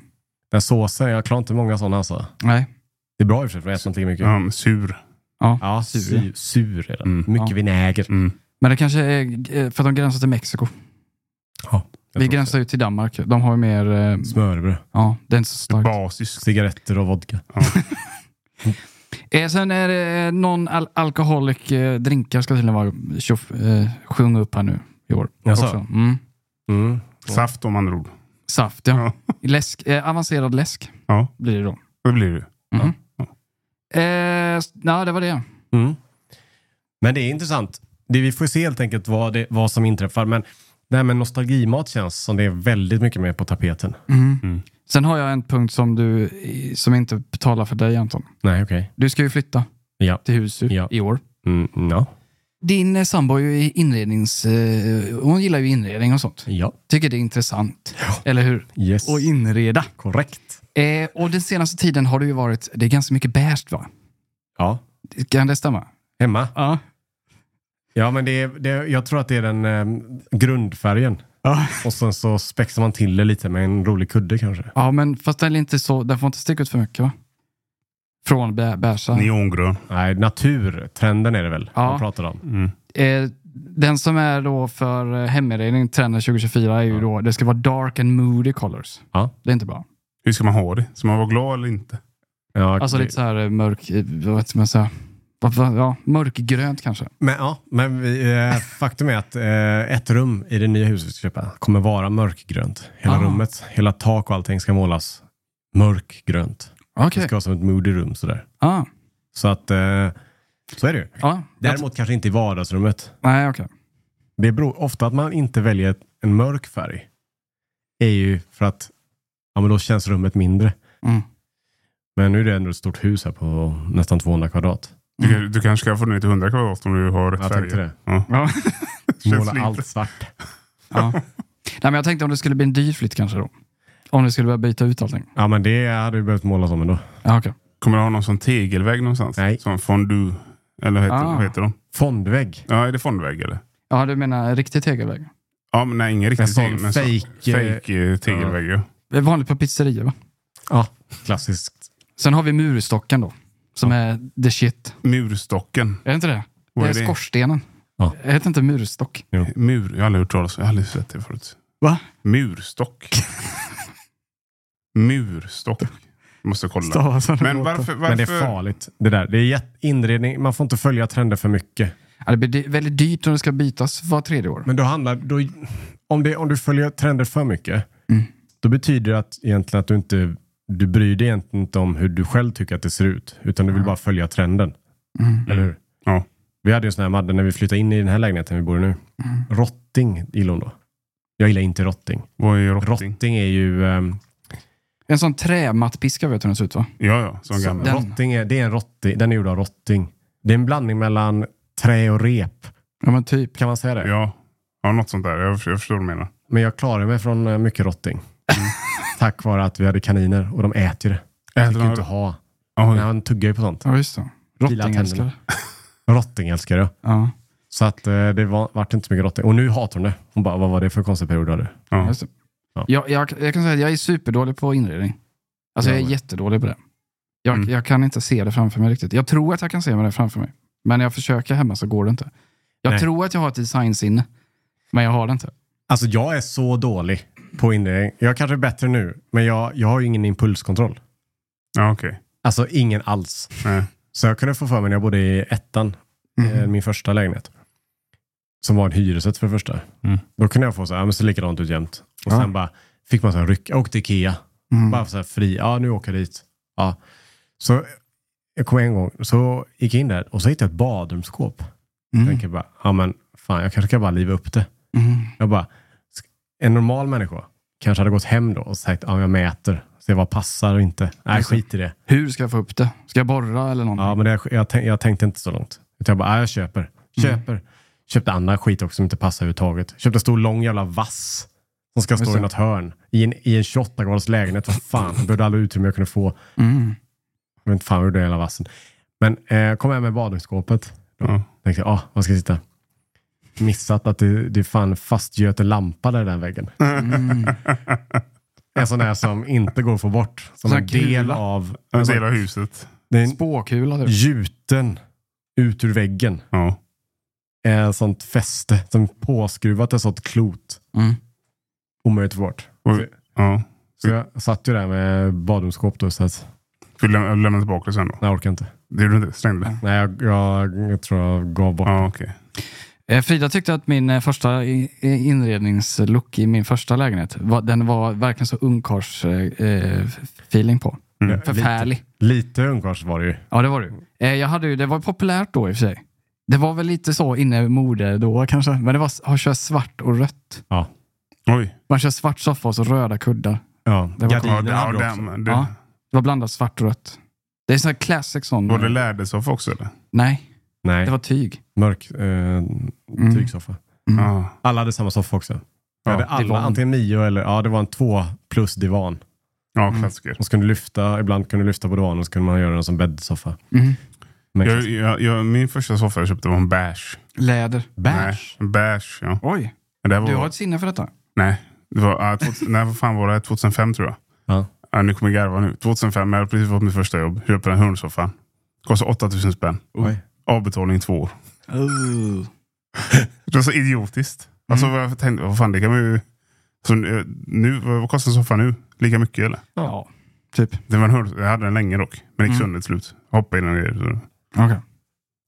Speaker 1: Den såsen, jag klarar inte många sådana alltså.
Speaker 3: Nej.
Speaker 1: Det är bra i och för sig, för jag äter inte lika mycket.
Speaker 2: Ja, men sur.
Speaker 3: Ja.
Speaker 1: Ja,
Speaker 3: Sur.
Speaker 1: sur, sur är den.
Speaker 2: Mm.
Speaker 1: Mycket
Speaker 3: Ja.
Speaker 1: vinäger.
Speaker 2: Mm.
Speaker 3: Men det kanske är eh, för att de gränsar till Mexiko.
Speaker 1: Ja, jag
Speaker 3: Vi
Speaker 1: tror
Speaker 3: gränsar ju till Danmark. De har ju mer... eh,
Speaker 1: det. Smörbröd,
Speaker 3: Ja, det är inte så starkt.
Speaker 2: Basiskt.
Speaker 1: cigaretter och vodka.
Speaker 3: Eh, sen är det någon al- alkoholik eh, drinkar ska tydligen vara tjoff, eh, sjung upp här nu i år.
Speaker 1: Jaså?
Speaker 3: Också. Mm.
Speaker 1: Mm.
Speaker 2: Saft om andra ord.
Speaker 3: Saft, ja. Läsk, eh, avancerad läsk
Speaker 2: Ja,
Speaker 3: blir det då.
Speaker 2: det blir det.
Speaker 3: Mhm. Eh, s- nej, det var det.
Speaker 1: Mm. Men det är intressant. Det, vi får se helt enkelt vad, det, vad som inträffar. Men det här med nostalgimat känns som det är väldigt mycket mer på tapeten.
Speaker 3: Sen har jag en punkt som du eh, som inte talar för dig Anton.
Speaker 1: Nej, okej.
Speaker 3: Du ska ju flytta
Speaker 1: Ja.
Speaker 3: till Husby
Speaker 1: Ja.
Speaker 3: i år.
Speaker 1: Mm, ja.
Speaker 3: Din eh, sambo är ju i inrednings... Eh, hon gillar ju inredning och sånt.
Speaker 1: Ja.
Speaker 3: Tycker det är intressant. Eller hur?
Speaker 1: Yes.
Speaker 3: Och inreda.
Speaker 1: Korrekt.
Speaker 3: Eh, och den senaste tiden har det ju varit, det är ganska mycket beige va?
Speaker 1: Ja.
Speaker 3: Kan det stämma?
Speaker 1: Hemma.
Speaker 3: Ja.
Speaker 1: Ja, men det, är- det, är- jag tror att det är den eh, grundfärgen.
Speaker 3: Ja.
Speaker 1: Och sen så spexar man till det lite med en rolig kudde kanske.
Speaker 3: Ja, men fast den, är inte så, den får inte sticka ut för mycket va? Från bä- beiga.
Speaker 2: Neongrön. Mm.
Speaker 1: Nej, naturtrenden är det väl
Speaker 3: Ja.
Speaker 1: man pratar om.
Speaker 3: Eh, den som är då för eh, heminredning, trenden 2024, är ju då, det ska vara dark and moody colors.
Speaker 1: Ja.
Speaker 3: Det är inte bra.
Speaker 2: Hur ska man ha det? Ska man vara glad eller inte?
Speaker 1: Ja,
Speaker 3: Alltså
Speaker 1: det-
Speaker 3: lite så här eh, mörk, eh, vad ska man säga? Vad fan, Ja, mörkgrönt kanske.
Speaker 1: Men, ja, men vi, eh, faktum är att eh, ett rum i det nya huset vi ska köpa kommer vara mörkgrönt. Hela
Speaker 3: Ah.
Speaker 1: rummet, hela tak och allting ska målas mörkgrönt.
Speaker 3: Okej.
Speaker 1: Det ska vara som ett moody room sådär.
Speaker 3: Ah,
Speaker 1: Så att, eh, så är det ju.
Speaker 3: ja.
Speaker 1: Däremot kanske inte i vardagsrummet.
Speaker 3: Nej, okej.
Speaker 1: Det beror ofta att man inte väljer en mörk färg. är ju för att ja, men då känns rummet mindre.
Speaker 3: Mm.
Speaker 1: Men nu är det ändå ett stort hus här på nästan 200 kvadrat.
Speaker 2: Du, du kanske kan få ner till 100 kvadrat om du har rätt
Speaker 1: Mm. Jag
Speaker 2: färger.
Speaker 1: tänkte det.
Speaker 2: Ja.
Speaker 3: Ja.
Speaker 2: Känns
Speaker 1: Måla
Speaker 2: lite-
Speaker 1: allt svart.
Speaker 3: ja. Nej, men jag tänkte om det skulle bli en dyr flytt kanske då. Om du skulle börja byta ut allting.
Speaker 1: Ja, men det hade vi behövt målas om ändå.
Speaker 3: Ja, okej.
Speaker 2: Kommer du ha någon sån tegelvägg någonstans?
Speaker 1: Nej.
Speaker 2: Sån fondue. Eller heter,
Speaker 3: Ah.
Speaker 2: vad heter de?
Speaker 1: Fondvägg.
Speaker 2: Ja, är det fondvägg eller?
Speaker 3: Ja, du menar riktig tegelvägg?
Speaker 2: Ja, men nej, ingen
Speaker 1: En
Speaker 2: riktig
Speaker 1: sån
Speaker 2: tegel. men så-
Speaker 1: fake, eh,
Speaker 2: fake eh, tegelvägg ja.
Speaker 3: Det är vanligt på pizzerior va?
Speaker 1: Ja, klassiskt.
Speaker 3: Sen har vi murstocken då. Som är the shit.
Speaker 2: Murstocken.
Speaker 3: Är det inte det?
Speaker 2: Vad
Speaker 3: det är,
Speaker 2: är det?
Speaker 3: skorstenen.
Speaker 1: Ja.
Speaker 3: Jag heter inte murstock.
Speaker 2: Mur. Jag har aldrig hört talas om Jag har aldrig sett det förut.
Speaker 3: Va?
Speaker 2: Murstock. Murstock. Måste kolla.
Speaker 3: Stavas vad det
Speaker 2: Men
Speaker 3: låter.
Speaker 2: varför? varför?
Speaker 1: Men det är farligt. Det där. Det är jätt- inredning. Man får inte följa trender för mycket.
Speaker 3: Ja, det blir dy- väldigt dyrt om det ska bytas var tredje år.
Speaker 1: Men då handlar, då, om, det, om du följer trender för mycket,
Speaker 2: Mm.
Speaker 1: då betyder det att, egentligen att du inte du bryr dig egentligen inte om hur du själv tycker att det ser ut, utan du vill bara följa trenden. Eller hur?
Speaker 2: Mm. Ja.
Speaker 1: Vi hade ju en sån här Madde när vi flyttade in i den här lägenheten vi bor i nu.
Speaker 2: Mm.
Speaker 1: Rotting gillar hon då. Jag gillar inte rotting.
Speaker 2: Vad är rotting?
Speaker 1: Rotting, är ju... ehm,
Speaker 3: En sån trämattpiska vet du hur den ser ut va?
Speaker 2: Ja, ja. Sån gammal.
Speaker 3: Den.
Speaker 1: rotting är, det är en rotting, den är gjord av rotting. Det är en blandning mellan trä och rep.
Speaker 3: Ja men typ.
Speaker 1: Kan man säga det?
Speaker 2: Ja. ja, något sånt där. Jag, förstår- jag förstår vad du menar.
Speaker 1: Men jag klarade mig från eh, mycket rotting.
Speaker 2: *laughs*
Speaker 1: Tack vare att vi hade kaniner och de äter ju det. Jag
Speaker 2: Äter
Speaker 1: fick
Speaker 2: de-
Speaker 1: ju inte ha.
Speaker 2: Oj.
Speaker 1: Nej, han tuggar ju på sånt.
Speaker 3: Ja just det.
Speaker 1: Fila
Speaker 3: Rottingälskare.
Speaker 1: Rotting älskar jag.
Speaker 3: Ja,
Speaker 1: Så att eh, det var, vart inte så mycket rotting. Och nu hatar hon det. Hon bara, vad var det för konstig period du hade?
Speaker 2: Ja.
Speaker 3: just det.
Speaker 1: Ja.
Speaker 3: Jag, jag, jag kan säga att jag är superdålig på inredning. Alltså
Speaker 1: Ja,
Speaker 3: jag är
Speaker 1: men-
Speaker 3: jättedålig på det. Jag,
Speaker 2: Mm.
Speaker 3: jag kan inte se det framför mig riktigt. Jag tror att jag kan se det framför mig. Men när jag försöker hemma så går det inte. Jag
Speaker 1: Nej.
Speaker 3: tror att jag har ett designsinne. Men jag har det inte.
Speaker 1: Alltså jag är så dålig på inredning. Jag kanske är bättre nu, men jag, jag har ju ingen impulskontroll.
Speaker 2: Ja, okej.
Speaker 1: Alltså ingen alls.
Speaker 2: Nej.
Speaker 1: Så jag kunde få för mig när jag bodde i ettan, eh,
Speaker 3: Mhm.
Speaker 1: min första lägenhet. Som var en hyresrätt för det första.
Speaker 2: Mm.
Speaker 1: Då kunde jag få så här, ja, men så likadant ut jämt. Och
Speaker 3: Ja.
Speaker 1: sen bara fick man så här ryck. Jag åkte till Ikea.
Speaker 3: Mm.
Speaker 1: Bara så här fri. Ja, nu åker jag dit. Ja. Så jag kom en gång, så gick jag in där och så hittade jag ett badrumsskåp. Jag
Speaker 3: Mm.
Speaker 1: tänker bara, ja men fan, jag kanske kan bara liva upp det.
Speaker 3: Mm.
Speaker 1: Jag bara, sk- en normal människa kanske hade gått hem då och sagt, ja jag mäter. Se vad passar och inte. Nej,
Speaker 3: Just det.
Speaker 1: skit i det.
Speaker 3: Hur ska jag få upp det? Ska jag borra eller någonting?
Speaker 1: Ja, men det, jag, tänk, jag tänkte inte så långt. Utan jag bara, ja, jag köper. Köper. Köpte annan skit också som inte passar överhuvudtaget. Köpte en stor lång jävla vass. Som ska
Speaker 3: Just
Speaker 1: stå
Speaker 3: det.
Speaker 1: i något hörn. I en, i en 28 kvadratars lägenhet. Vad fan, jag behövde alla utrymme jag kunde få.
Speaker 3: Mm.
Speaker 1: Jag vet inte fan hur det hela vassen. Men eh, kom hem med badrumsskåpet. Då
Speaker 2: Ja.
Speaker 1: tänkte jag, ah, vad ska jag sitta? Missat att det, det fan fastgöt en lampa där i den väggen.
Speaker 3: Mm. *laughs*
Speaker 1: En sån där som inte går att få bort. Som
Speaker 3: Sån
Speaker 1: en
Speaker 3: här kula.
Speaker 1: del av...
Speaker 2: En
Speaker 1: sån-
Speaker 2: del av huset.
Speaker 1: det är en
Speaker 3: Spåkula typ.
Speaker 1: gjuten ut ur väggen.
Speaker 2: Ja.
Speaker 1: Ett Eh, sånt fäste som påskruvat ett sånt klot.
Speaker 3: Mm.
Speaker 1: Omöjligt att få bort.
Speaker 2: Och, ja.
Speaker 1: Så jag satt ju där med badrumsskåp då, så att
Speaker 2: Skulle lämna, lämna tillbaka det sen då?
Speaker 1: nej, jag orkar inte.
Speaker 2: Det gjorde du inte? Slängde det?
Speaker 1: Nej, jag, jag, jag tror jag gav bort.
Speaker 2: Ja, okej.
Speaker 3: Eh, Frida tyckte att min eh, första i- i- inredningslook i min första lägenhet, var, den var verkligen så ungkarls-feeling på.
Speaker 2: Mm.
Speaker 3: Förfärlig.
Speaker 1: Lite ungkarls var det ju.
Speaker 3: Ja, det var du. Eh, jag hade ju, det var populärt då i och för sig. Det var väl lite så inne i mode då kanske, men det var att köra svart och rött.
Speaker 1: Ja.
Speaker 2: Oj.
Speaker 3: Man kör svart soffa och så röda kuddar.
Speaker 1: ja.
Speaker 3: Det var-
Speaker 2: Ja,
Speaker 1: Gardinerna
Speaker 2: det, ja,
Speaker 1: hade du också.
Speaker 2: den, det,
Speaker 3: Ja. Det var blandat svart och rött. Det är sån här classic sån. eh,
Speaker 2: Var det lädersoffa också eller?
Speaker 3: Nej,
Speaker 1: Nej,
Speaker 3: det var tyg.
Speaker 1: mörk eh, tygsoffa.
Speaker 3: Mm.
Speaker 2: Ja.
Speaker 1: Alla hade samma soffa också. Ja, hade alla,
Speaker 3: divan.
Speaker 1: antingen Mio eller, ja det var en två plus divan.
Speaker 2: Ja, klassiker.
Speaker 1: Och så kunde du lyfta, ibland kunde du lyfta på divanen och så kunde man göra den som bäddsoffa.
Speaker 3: Mm.
Speaker 1: Men-
Speaker 2: Jag, jag, jag, min första soffa jag köpte var en beige.
Speaker 3: Läder.
Speaker 1: Beige?
Speaker 2: Nej, en beige, ja.
Speaker 3: Oj,
Speaker 2: Men det här var,
Speaker 3: du har ett sinne för detta.
Speaker 2: Nej, det var, ja, 2000, *laughs* nej, vad fan var det? 2005 tror jag.
Speaker 1: Ja.
Speaker 2: Ja, nu kommer jag garva nu. 2005, jag hade precis fått mitt första jobb. Köpte en hundsoffa. Kostade 8000 spänn.
Speaker 1: Oj.
Speaker 2: Avbetalning två år.
Speaker 1: Uh.
Speaker 2: Det var så idiotiskt. Alltså, vad jag tänkte, vad fan, det kan man ju... Så nu- nu, vad kostar en soffa nu? Lika mycket eller?
Speaker 3: Ja, typ.
Speaker 2: Det var en hund, jag hade den länge dock. Men gick sönder till slut. Hoppade in och grejer. så-
Speaker 3: Okej.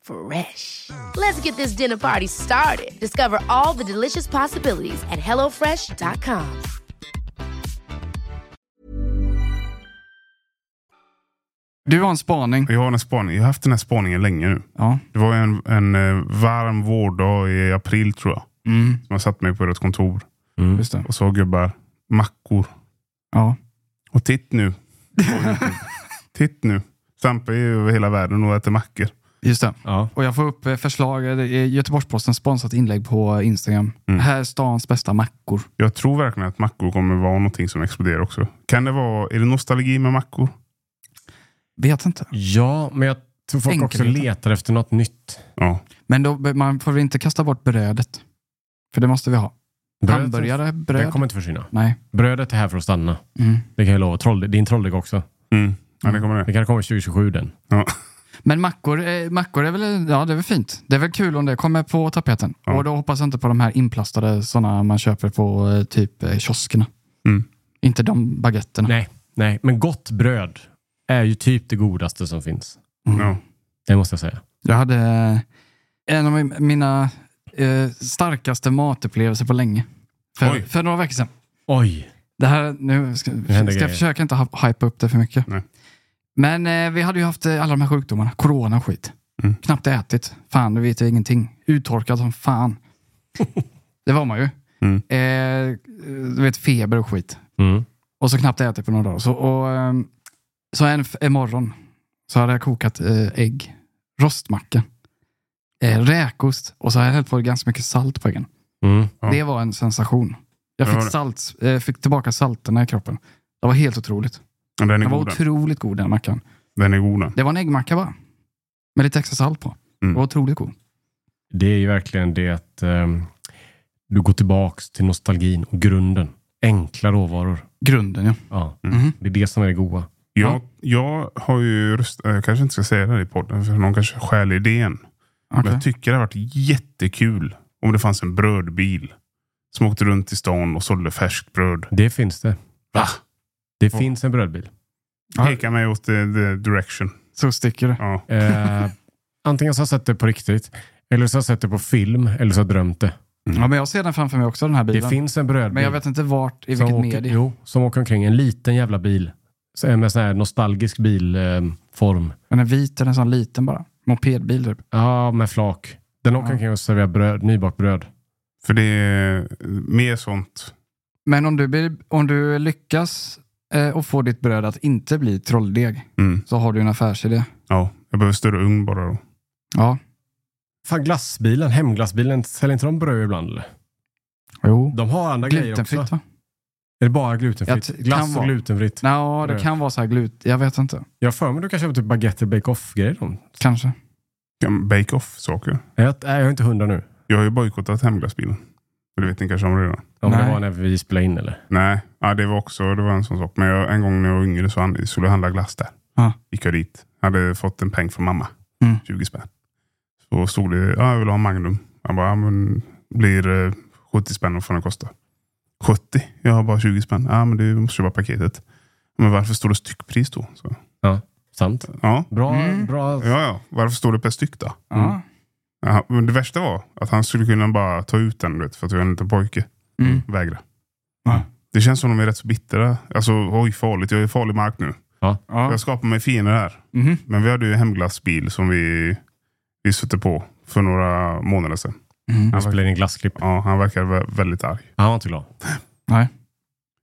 Speaker 4: Fresh. Let's get this dinner party started. Discover all the delicious possibilities at hellofresh.com.
Speaker 3: Du har en spaning.
Speaker 2: Jag har en spaning. Jag har haft den här spaningen länge nu.
Speaker 3: Ja.
Speaker 2: Det var en, en eh, varm vårdag i april tror jag.
Speaker 3: Mm.
Speaker 2: Som jag satt mig på ett kontor
Speaker 1: Mm.
Speaker 3: Just det.
Speaker 2: och sa gubbar, mackor.
Speaker 3: Ja.
Speaker 2: Och titt
Speaker 3: *laughs*
Speaker 2: nu. titt nu. Sampe är ju över hela världen och äter mackor.
Speaker 3: Just det.
Speaker 1: Ja.
Speaker 3: Och jag får upp eh, förslag. Det är Göteborgs-Posten sponsrat inlägg på Instagram. Här är stans bästa mackor.
Speaker 2: Jag tror verkligen att mackor kommer vara någonting som exploderar också. Kan det vara, är det nostalgi med mackor?
Speaker 3: Vet inte.
Speaker 1: ja, men jag tror folk också
Speaker 3: Enkelheten.
Speaker 1: letar efter något nytt.
Speaker 2: Ja.
Speaker 3: Men då, man får väl inte kasta bort brödet. För det måste vi ha.
Speaker 1: Brödet-
Speaker 3: Hamburgare,
Speaker 1: Det
Speaker 3: bröd.
Speaker 1: kommer inte försvinna.
Speaker 3: Nej.
Speaker 1: Brödet är här för att stanna.
Speaker 3: Mm.
Speaker 1: Det kan jag lova. Troll, din trolldeg också.
Speaker 2: Mm. Ja, det kommer det.
Speaker 1: Det kan komma 2027
Speaker 3: Mm.
Speaker 1: den.
Speaker 2: Ja.
Speaker 3: Men mackor, eh, mackor är, väl, ja, det är väl fint. Det är väl kul om det kommer på tapeten.
Speaker 2: Ja.
Speaker 3: Och då hoppas jag inte på de här inplastade sådana man köper på eh, typ eh, kioskerna.
Speaker 2: Mm.
Speaker 3: Inte de baguetterna.
Speaker 1: Nej, nej, men gott bröd är ju typ det godaste som finns.
Speaker 3: Mm.
Speaker 2: Ja.
Speaker 1: Det måste jag säga.
Speaker 3: Jag hade eh, en av mi- mina eh, starkaste matupplevelser på länge. För,
Speaker 2: Oj.
Speaker 3: för några veckor sedan.
Speaker 1: Oj!
Speaker 3: Det här, nu ska,
Speaker 1: händer
Speaker 3: ska
Speaker 1: grejer.
Speaker 3: jag försöka inte ha- hypa upp det för mycket.
Speaker 2: Nej.
Speaker 3: Men eh, vi hade ju haft eh, alla de här sjukdomarna, corona och skit.
Speaker 2: Mm.
Speaker 3: Knappt ätit. Fan, du vet ju ingenting. Uttorkad som fan. det var man ju.
Speaker 2: Mm.
Speaker 3: Eh, du vet, feber och skit.
Speaker 1: Mm.
Speaker 3: Och så knappt ätit på några dagar. Så, och, ehm, så en, f- en morgon så hade jag kokat eh, ägg, rostmacka, eh, räkost och så har jag hällt på ganska mycket salt på äggen.
Speaker 1: Mm.
Speaker 2: Ja.
Speaker 3: Det var en sensation. Jag
Speaker 2: Det
Speaker 3: fick,
Speaker 2: var det.
Speaker 3: salt, eh, fick tillbaka salterna i kroppen. Det var helt otroligt.
Speaker 2: Men Den är
Speaker 3: Den var
Speaker 2: god den.
Speaker 3: otroligt god den mackan.
Speaker 2: Den är god den.
Speaker 3: Det var en äggmacka bara. Med lite extra salt på.
Speaker 2: Mm.
Speaker 3: Det var otroligt god.
Speaker 1: Det är ju verkligen det att ehm, du går tillbaks till nostalgin och grunden. Enkla råvaror.
Speaker 3: Grunden ja.
Speaker 1: Ja.
Speaker 3: Mhm.
Speaker 1: Det är det som är det goda.
Speaker 2: Jag, jag har ju röstat, jag kanske inte ska säga det här i podden för någon kanske stjäl idén. Men
Speaker 3: Okej.
Speaker 2: jag tycker det hade varit jättekul om det fanns en brödbil som åkte runt i stan och sålde färskt bröd.
Speaker 3: Ah.
Speaker 1: Det finns det.
Speaker 2: Va?
Speaker 1: Det finns en brödbil.
Speaker 2: Pekar mig åt the, the direction.
Speaker 3: Så sticker det.
Speaker 2: Ja.
Speaker 1: Eh, antingen så har jag sett det på riktigt, eller så har jag sett det på film, eller så har jag drömt det.
Speaker 3: Ja, men jag ser den framför mig också, den här
Speaker 1: Det
Speaker 3: bilen.
Speaker 1: finns en brödbil
Speaker 3: men jag vet inte vart, i
Speaker 1: som,
Speaker 3: vilket
Speaker 1: åker,
Speaker 3: medie.
Speaker 1: jo, som åker omkring i en liten jävla bil. Så- eh, Med sån här nostalgisk bilform.
Speaker 3: Den är vit, den är sån liten bara. Mopedbil typ.
Speaker 1: Ja, med flak. Den åker
Speaker 3: Ja.
Speaker 1: omkring och serverar bröd, nybakt bröd.
Speaker 2: För det är mer sånt.
Speaker 3: Men om du, blir, om du lyckas eh, och får ditt bröd att inte bli trolldeg
Speaker 2: Mm.
Speaker 3: så har du en affärsidé.
Speaker 2: Ja, jag behöver större ugn bara då.
Speaker 3: Ja.
Speaker 1: Fan, glassbilen, hemglassbilen, säljer inte de bröd ibland? eller?
Speaker 3: Jo.
Speaker 1: De har andra grejer också.
Speaker 3: Glutenfritt
Speaker 1: Är
Speaker 3: va?
Speaker 1: det bara glutenfritt?
Speaker 3: Jag t- kan
Speaker 1: Glass och
Speaker 3: vara.
Speaker 1: glutenfritt.
Speaker 3: Ja, det
Speaker 1: Bröd.
Speaker 3: kan vara så här glut. Jag vet inte.
Speaker 1: Jag har för mig du kan köpa typ baguette och bake off-grejer. då.
Speaker 3: Kanske.
Speaker 2: Kan Bake-off saker.
Speaker 1: Jag, nej, jag är inte hundra nu.
Speaker 2: Jag har ju bojkottat hemglassbilen. Men Det vet ni kanske om redan.
Speaker 1: Om det
Speaker 3: Nej.
Speaker 1: var när vi spelade in eller?
Speaker 2: Nej, ja, det var också det var en sån sak. Men jag, en gång när jag var yngre så han, skulle jag handla glass där.
Speaker 3: Ja.
Speaker 2: Gick jag dit. Hade fått en peng från mamma.
Speaker 3: Mm.
Speaker 2: 20 spänn. Så stod det, ja, jag vill ha Magnum. Han bara, ja, men blir eh, 70 spänn, vad får den kosta? 70? Jag har bara 20 spänn. Ja, men du måste köpa paketet. Men varför står det styckpris då? Så,
Speaker 1: Sant.
Speaker 2: ja.
Speaker 1: Bra,
Speaker 3: Mm.
Speaker 1: bra.
Speaker 2: ja, ja, varför står det per styck då? Mm.
Speaker 1: Mm.
Speaker 3: Ja.
Speaker 2: Ja, men det värsta var att han skulle kunna bara ta ut den, du vet, för att jag är en liten pojke.
Speaker 3: Mm.
Speaker 2: Vägra.
Speaker 3: Ja.
Speaker 2: Det känns som de är rätt så bittra. Alltså, oj farligt, jag är i farlig mark nu.
Speaker 3: Ja.
Speaker 2: Jag skapar mig fiender här.
Speaker 1: Mm-hmm.
Speaker 3: Mhm.
Speaker 2: Men vi hade ju en hemglassbil som vi, vi satte på för några månader sedan.
Speaker 3: Mm.
Speaker 1: Han spelade in glassklipp.
Speaker 2: Ja, han verkar vä- väldigt arg.
Speaker 1: Han var inte glad.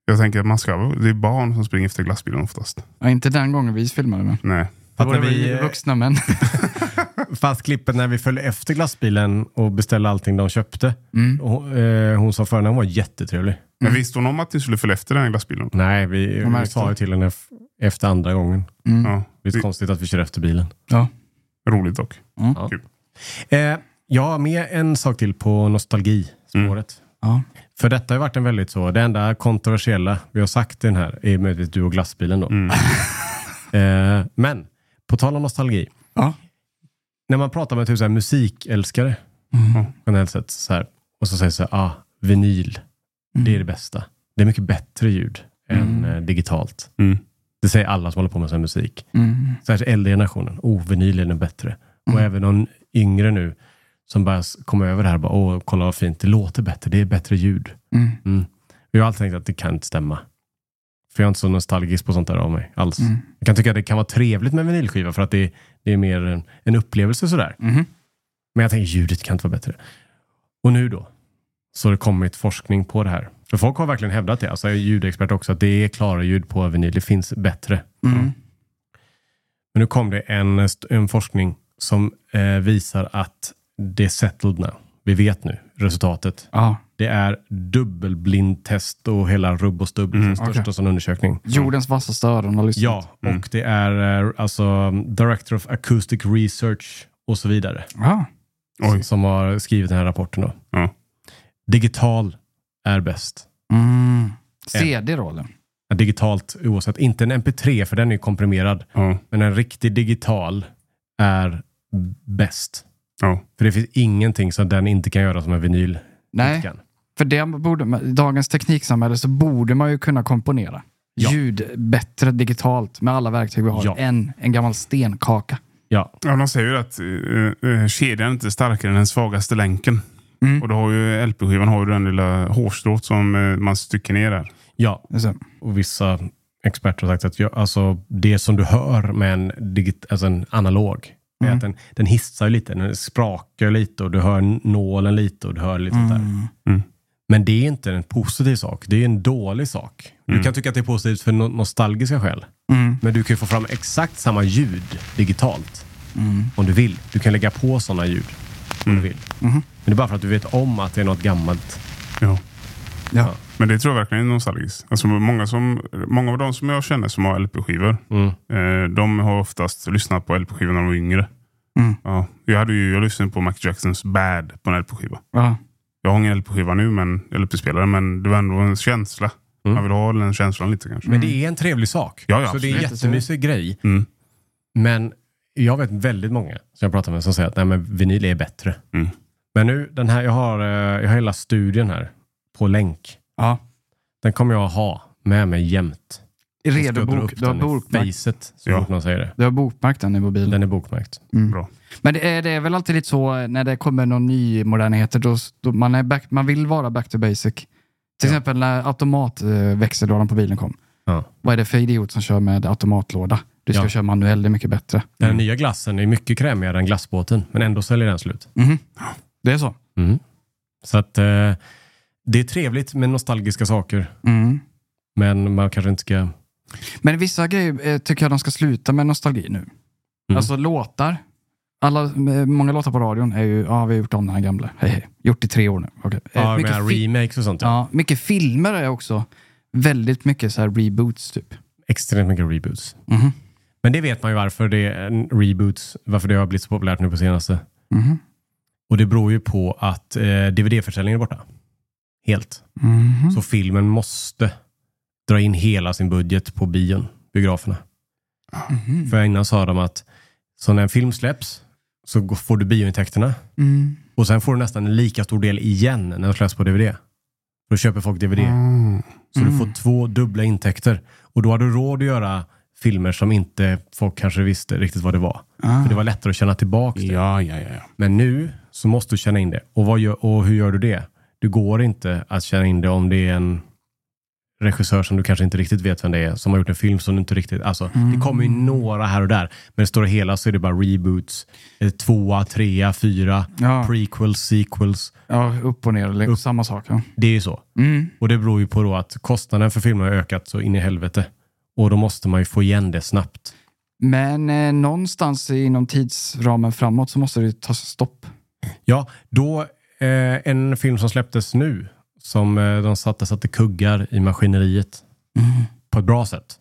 Speaker 2: Jag tänker att man ska, det är barn som springer efter glassbilen oftast.
Speaker 3: Ja, inte den gången vi filmade, men
Speaker 2: Nej.
Speaker 3: då
Speaker 1: Att
Speaker 3: var det
Speaker 1: när vi,
Speaker 3: vi eh,
Speaker 1: *laughs*
Speaker 3: vuxna män.
Speaker 1: Fast klippet när vi följde efter glassbilen och beställde allting de köpte.
Speaker 3: Mm.
Speaker 1: Hon, eh, hon sa förrän hon var jättetrevlig.
Speaker 2: Men
Speaker 3: Mm.
Speaker 2: visste hon om att ni skulle följa efter den här glassbilen?
Speaker 1: Nej, vi,
Speaker 3: Hon
Speaker 1: vi
Speaker 3: märkte.
Speaker 1: sa ju till henne f- efter andra gången.
Speaker 3: Mm.
Speaker 2: Ja.
Speaker 1: Lite
Speaker 2: Det
Speaker 1: konstigt att vi kör efter bilen.
Speaker 2: är roligt dock.
Speaker 1: Eh, jag har med en sak till på nostalgispåret.
Speaker 3: Ja.
Speaker 1: För detta har ju varit en väldigt så, det enda kontroversiella vi har sagt i den här är möjligtvis du och glassbilen då.
Speaker 2: Mm.
Speaker 1: Eh, men, på tal om nostalgi.
Speaker 3: Ja.
Speaker 1: När man pratar med typ så här musikälskare,
Speaker 3: Mm.
Speaker 1: generellt sett, så här, och så säger så här, ah, vinyl, det är det bästa. Det är mycket bättre ljud än
Speaker 3: Mm.
Speaker 1: eh, digitalt.
Speaker 2: Mm.
Speaker 1: Det säger alla som håller på med sån här musik.
Speaker 3: Mm.
Speaker 1: Särskilt äldre generationen, oh, vinyl är den bättre. Och
Speaker 3: Mm.
Speaker 1: även någon yngre nu, som bara s- kommer över det här och bara, åh, kolla vad fint, det låter bättre, det är bättre ljud.
Speaker 3: Mm.
Speaker 1: Jag har alltid tänkt att det kan inte stämma. För jag är inte så nostalgisk på sånt där av mig alls.
Speaker 3: Mm.
Speaker 1: Jag kan tycka att det kan vara trevligt med en vinylskiva för att det, det är mer en, en upplevelse sådär.
Speaker 3: Mhm.
Speaker 1: Men jag tänker ljudet kan inte vara bättre. Och nu då? Så har det kommit forskning på det här. För folk har verkligen hävdat det. Alltså jag är ljudexpert också. Att det är klara ljud på vinyl. Det finns bättre.
Speaker 3: Mm.
Speaker 1: Men nu kom det en, st- en forskning som eh, visar att det är settled now. Vi vet nu resultatet.
Speaker 3: Ja.
Speaker 1: Det är dubbelblindtest och hela rubb och stubb.
Speaker 2: Mm,
Speaker 1: den största
Speaker 3: okej.
Speaker 1: sån undersökning.
Speaker 3: Jordens vassaste öron har lyssnat.
Speaker 1: Ja,
Speaker 2: Mm.
Speaker 1: och det är eh, alltså um, Director of Acoustic Research och så vidare
Speaker 3: Ja.
Speaker 2: Oj.
Speaker 1: s- som har skrivit den här rapporten. Då.
Speaker 2: Ja.
Speaker 1: Digital är bäst.
Speaker 3: Mm. CD då eller?
Speaker 1: Ja, Digitalt oavsett. Inte en MP3 för den är ju komprimerad.
Speaker 2: Ja.
Speaker 1: Men en riktig digital är bäst.
Speaker 2: Ja.
Speaker 1: För det finns ingenting som den inte kan göra som en vinyl
Speaker 3: Nej.
Speaker 1: inte kan.
Speaker 3: För det borde, man- i dagens tekniksamhälle så borde man ju kunna komponera
Speaker 1: Ja.
Speaker 3: ljud bättre digitalt med alla verktyg vi har
Speaker 1: Ja.
Speaker 3: än en gammal stenkaka.
Speaker 1: Ja,
Speaker 2: Ja, de säger ju att eh, eh, kedjan är inte starkare än den svagaste länken.
Speaker 3: Mm.
Speaker 2: Och då har ju LP-skivan har ju den lilla hårstrået som eh, man stycker ner där.
Speaker 1: ja.
Speaker 3: Alltså,
Speaker 1: och vissa experter har sagt att ja, alltså, det som du hör med en, digit, alltså en analog, är
Speaker 3: Mm.
Speaker 1: att den, den hissar ju lite, den sprakar lite och du hör nålen lite och du hör lite sånt där.
Speaker 3: mm.
Speaker 1: Men det är inte en positiv sak, det är en dålig sak. Du kan tycka att det är positivt för no nostalgiska skäl,
Speaker 3: Mm.
Speaker 1: men du kan ju få fram exakt samma ljud digitalt
Speaker 3: Mm.
Speaker 1: om du vill. Du kan lägga på sådana ljud om du vill.
Speaker 3: Mm-hmm.
Speaker 1: Men det är bara för att du vet om att det är något gammalt.
Speaker 2: Ja.
Speaker 3: Ja.
Speaker 2: Men det tror jag verkligen är nostalgiskt. Alltså många, som, många av de som jag känner som har LP-skivor, eh, de har oftast lyssnat på LP-skivor när de var yngre.
Speaker 3: Mm.
Speaker 2: Ja, jag, hade ju, jag lyssnade på Michael Jacksons Bad på en LP-skiva.
Speaker 3: Ja.
Speaker 2: Jag har ingen LP-skiva nu, men, eller LP-spelare, men det var ändå en känsla.
Speaker 1: Mm.
Speaker 2: Man vill ha den känslan lite kanske.
Speaker 1: Men det är en trevlig sak.
Speaker 2: Mm. Ja, ja,
Speaker 1: så det är en
Speaker 2: absolut.
Speaker 1: jättemysig grej.
Speaker 2: Mm.
Speaker 1: Men jag vet väldigt många som jag pratar med som säger att Nej, men vinyl är bättre.
Speaker 2: Mm.
Speaker 1: Men nu, den här, jag, har, eh, jag har hela studien här på länk.
Speaker 3: Ja.
Speaker 1: Den kommer jag ha med mig jämt.
Speaker 3: I redo
Speaker 1: Jag ska dra
Speaker 3: bok.
Speaker 1: upp
Speaker 3: Du har
Speaker 1: den i
Speaker 3: bokmärkt,
Speaker 1: facet, så
Speaker 2: Ja.
Speaker 1: fort man säger det.
Speaker 3: du har bokmärkt den i mobilen.
Speaker 1: Den är bokmärkt.
Speaker 2: Mm, Bra.
Speaker 3: Men det är, det är väl alltid lite så eh, när det kommer någon ny modernheter, då, då man, är back, man vill vara back to basic. Till exempel när automatväxellådan på bilen kom.
Speaker 1: Ja.
Speaker 3: Vad är det för idiot som kör med automatlåda? Du ska
Speaker 1: Ja. Mm.
Speaker 3: köra manuell, det är mycket bättre.
Speaker 1: Den
Speaker 2: Mm.
Speaker 1: nya glassen är mycket krämigare än glassbåten, men ändå säljer den slut.
Speaker 3: Det är så.
Speaker 1: Mm. Så att eh, det är trevligt med nostalgiska saker,
Speaker 3: Mm.
Speaker 1: men man kanske inte ska...
Speaker 3: Men vissa grejer eh, tycker jag de ska sluta med nostalgi nu.
Speaker 1: Mm.
Speaker 3: Alltså låtar. Alla, eh, många låtar på radion är ju, ja vi har gjort om den här gamla. Hej hej. Gjort i tre år nu. Okej. Eh,
Speaker 1: Ja,
Speaker 3: mycket
Speaker 1: med
Speaker 3: fi-
Speaker 1: remakes och sånt. Ja.
Speaker 3: ja, mycket filmer är också väldigt mycket så här reboots typ.
Speaker 1: Extremt mycket reboots.
Speaker 3: Mhm.
Speaker 1: Men det vet man ju varför det är en reboots, varför det har blivit så populärt nu på senaste.
Speaker 3: Mhm.
Speaker 1: Och det beror ju på att eh, dvd-försäljningen är borta. Helt.
Speaker 3: Mhm.
Speaker 1: Så filmen måste dra in hela sin budget på bion, biograferna.
Speaker 3: Mhm.
Speaker 1: För innan sa de att så när en film släpps så går- får du biointäkterna
Speaker 3: Mm.
Speaker 1: och sen får du nästan en lika stor del igen när den släpps på DVD. Då köper folk DVD.
Speaker 2: Mm.
Speaker 1: Så du får två dubbla intäkter. Och då har du råd att göra filmer som inte folk kanske visste riktigt vad det var. För det var lättare att känna tillbaka det.
Speaker 2: Ah. Ja, ja, ja. ja.
Speaker 1: Men nu så måste du känna in det. Och, vad gör, och hur gör du det? Du går inte att känna in det om det är en regissör som du kanske inte riktigt vet vem det är, som har gjort en film som du inte riktigt... Alltså,
Speaker 2: Mm.
Speaker 1: Det kommer ju några här och där, men det stora hela så är det bara reboots. eh, Tvåa, trea, fyra,
Speaker 3: Ja.
Speaker 1: prequels, sequels.
Speaker 3: Ja, upp och ner. Eller
Speaker 1: Upp.
Speaker 3: Samma sak. Ja.
Speaker 1: Det är ju så.
Speaker 3: Mm.
Speaker 1: Och det beror ju på då att kostnaden för filmer har ökat så in i helvete. Och då måste man ju få igen det snabbt.
Speaker 3: Men eh, någonstans inom tidsramen framåt så måste det ta stopp.
Speaker 1: Ja, då eh, en film som släpptes nu som eh, de satte, satte kuggar i maskineriet på ett bra sätt.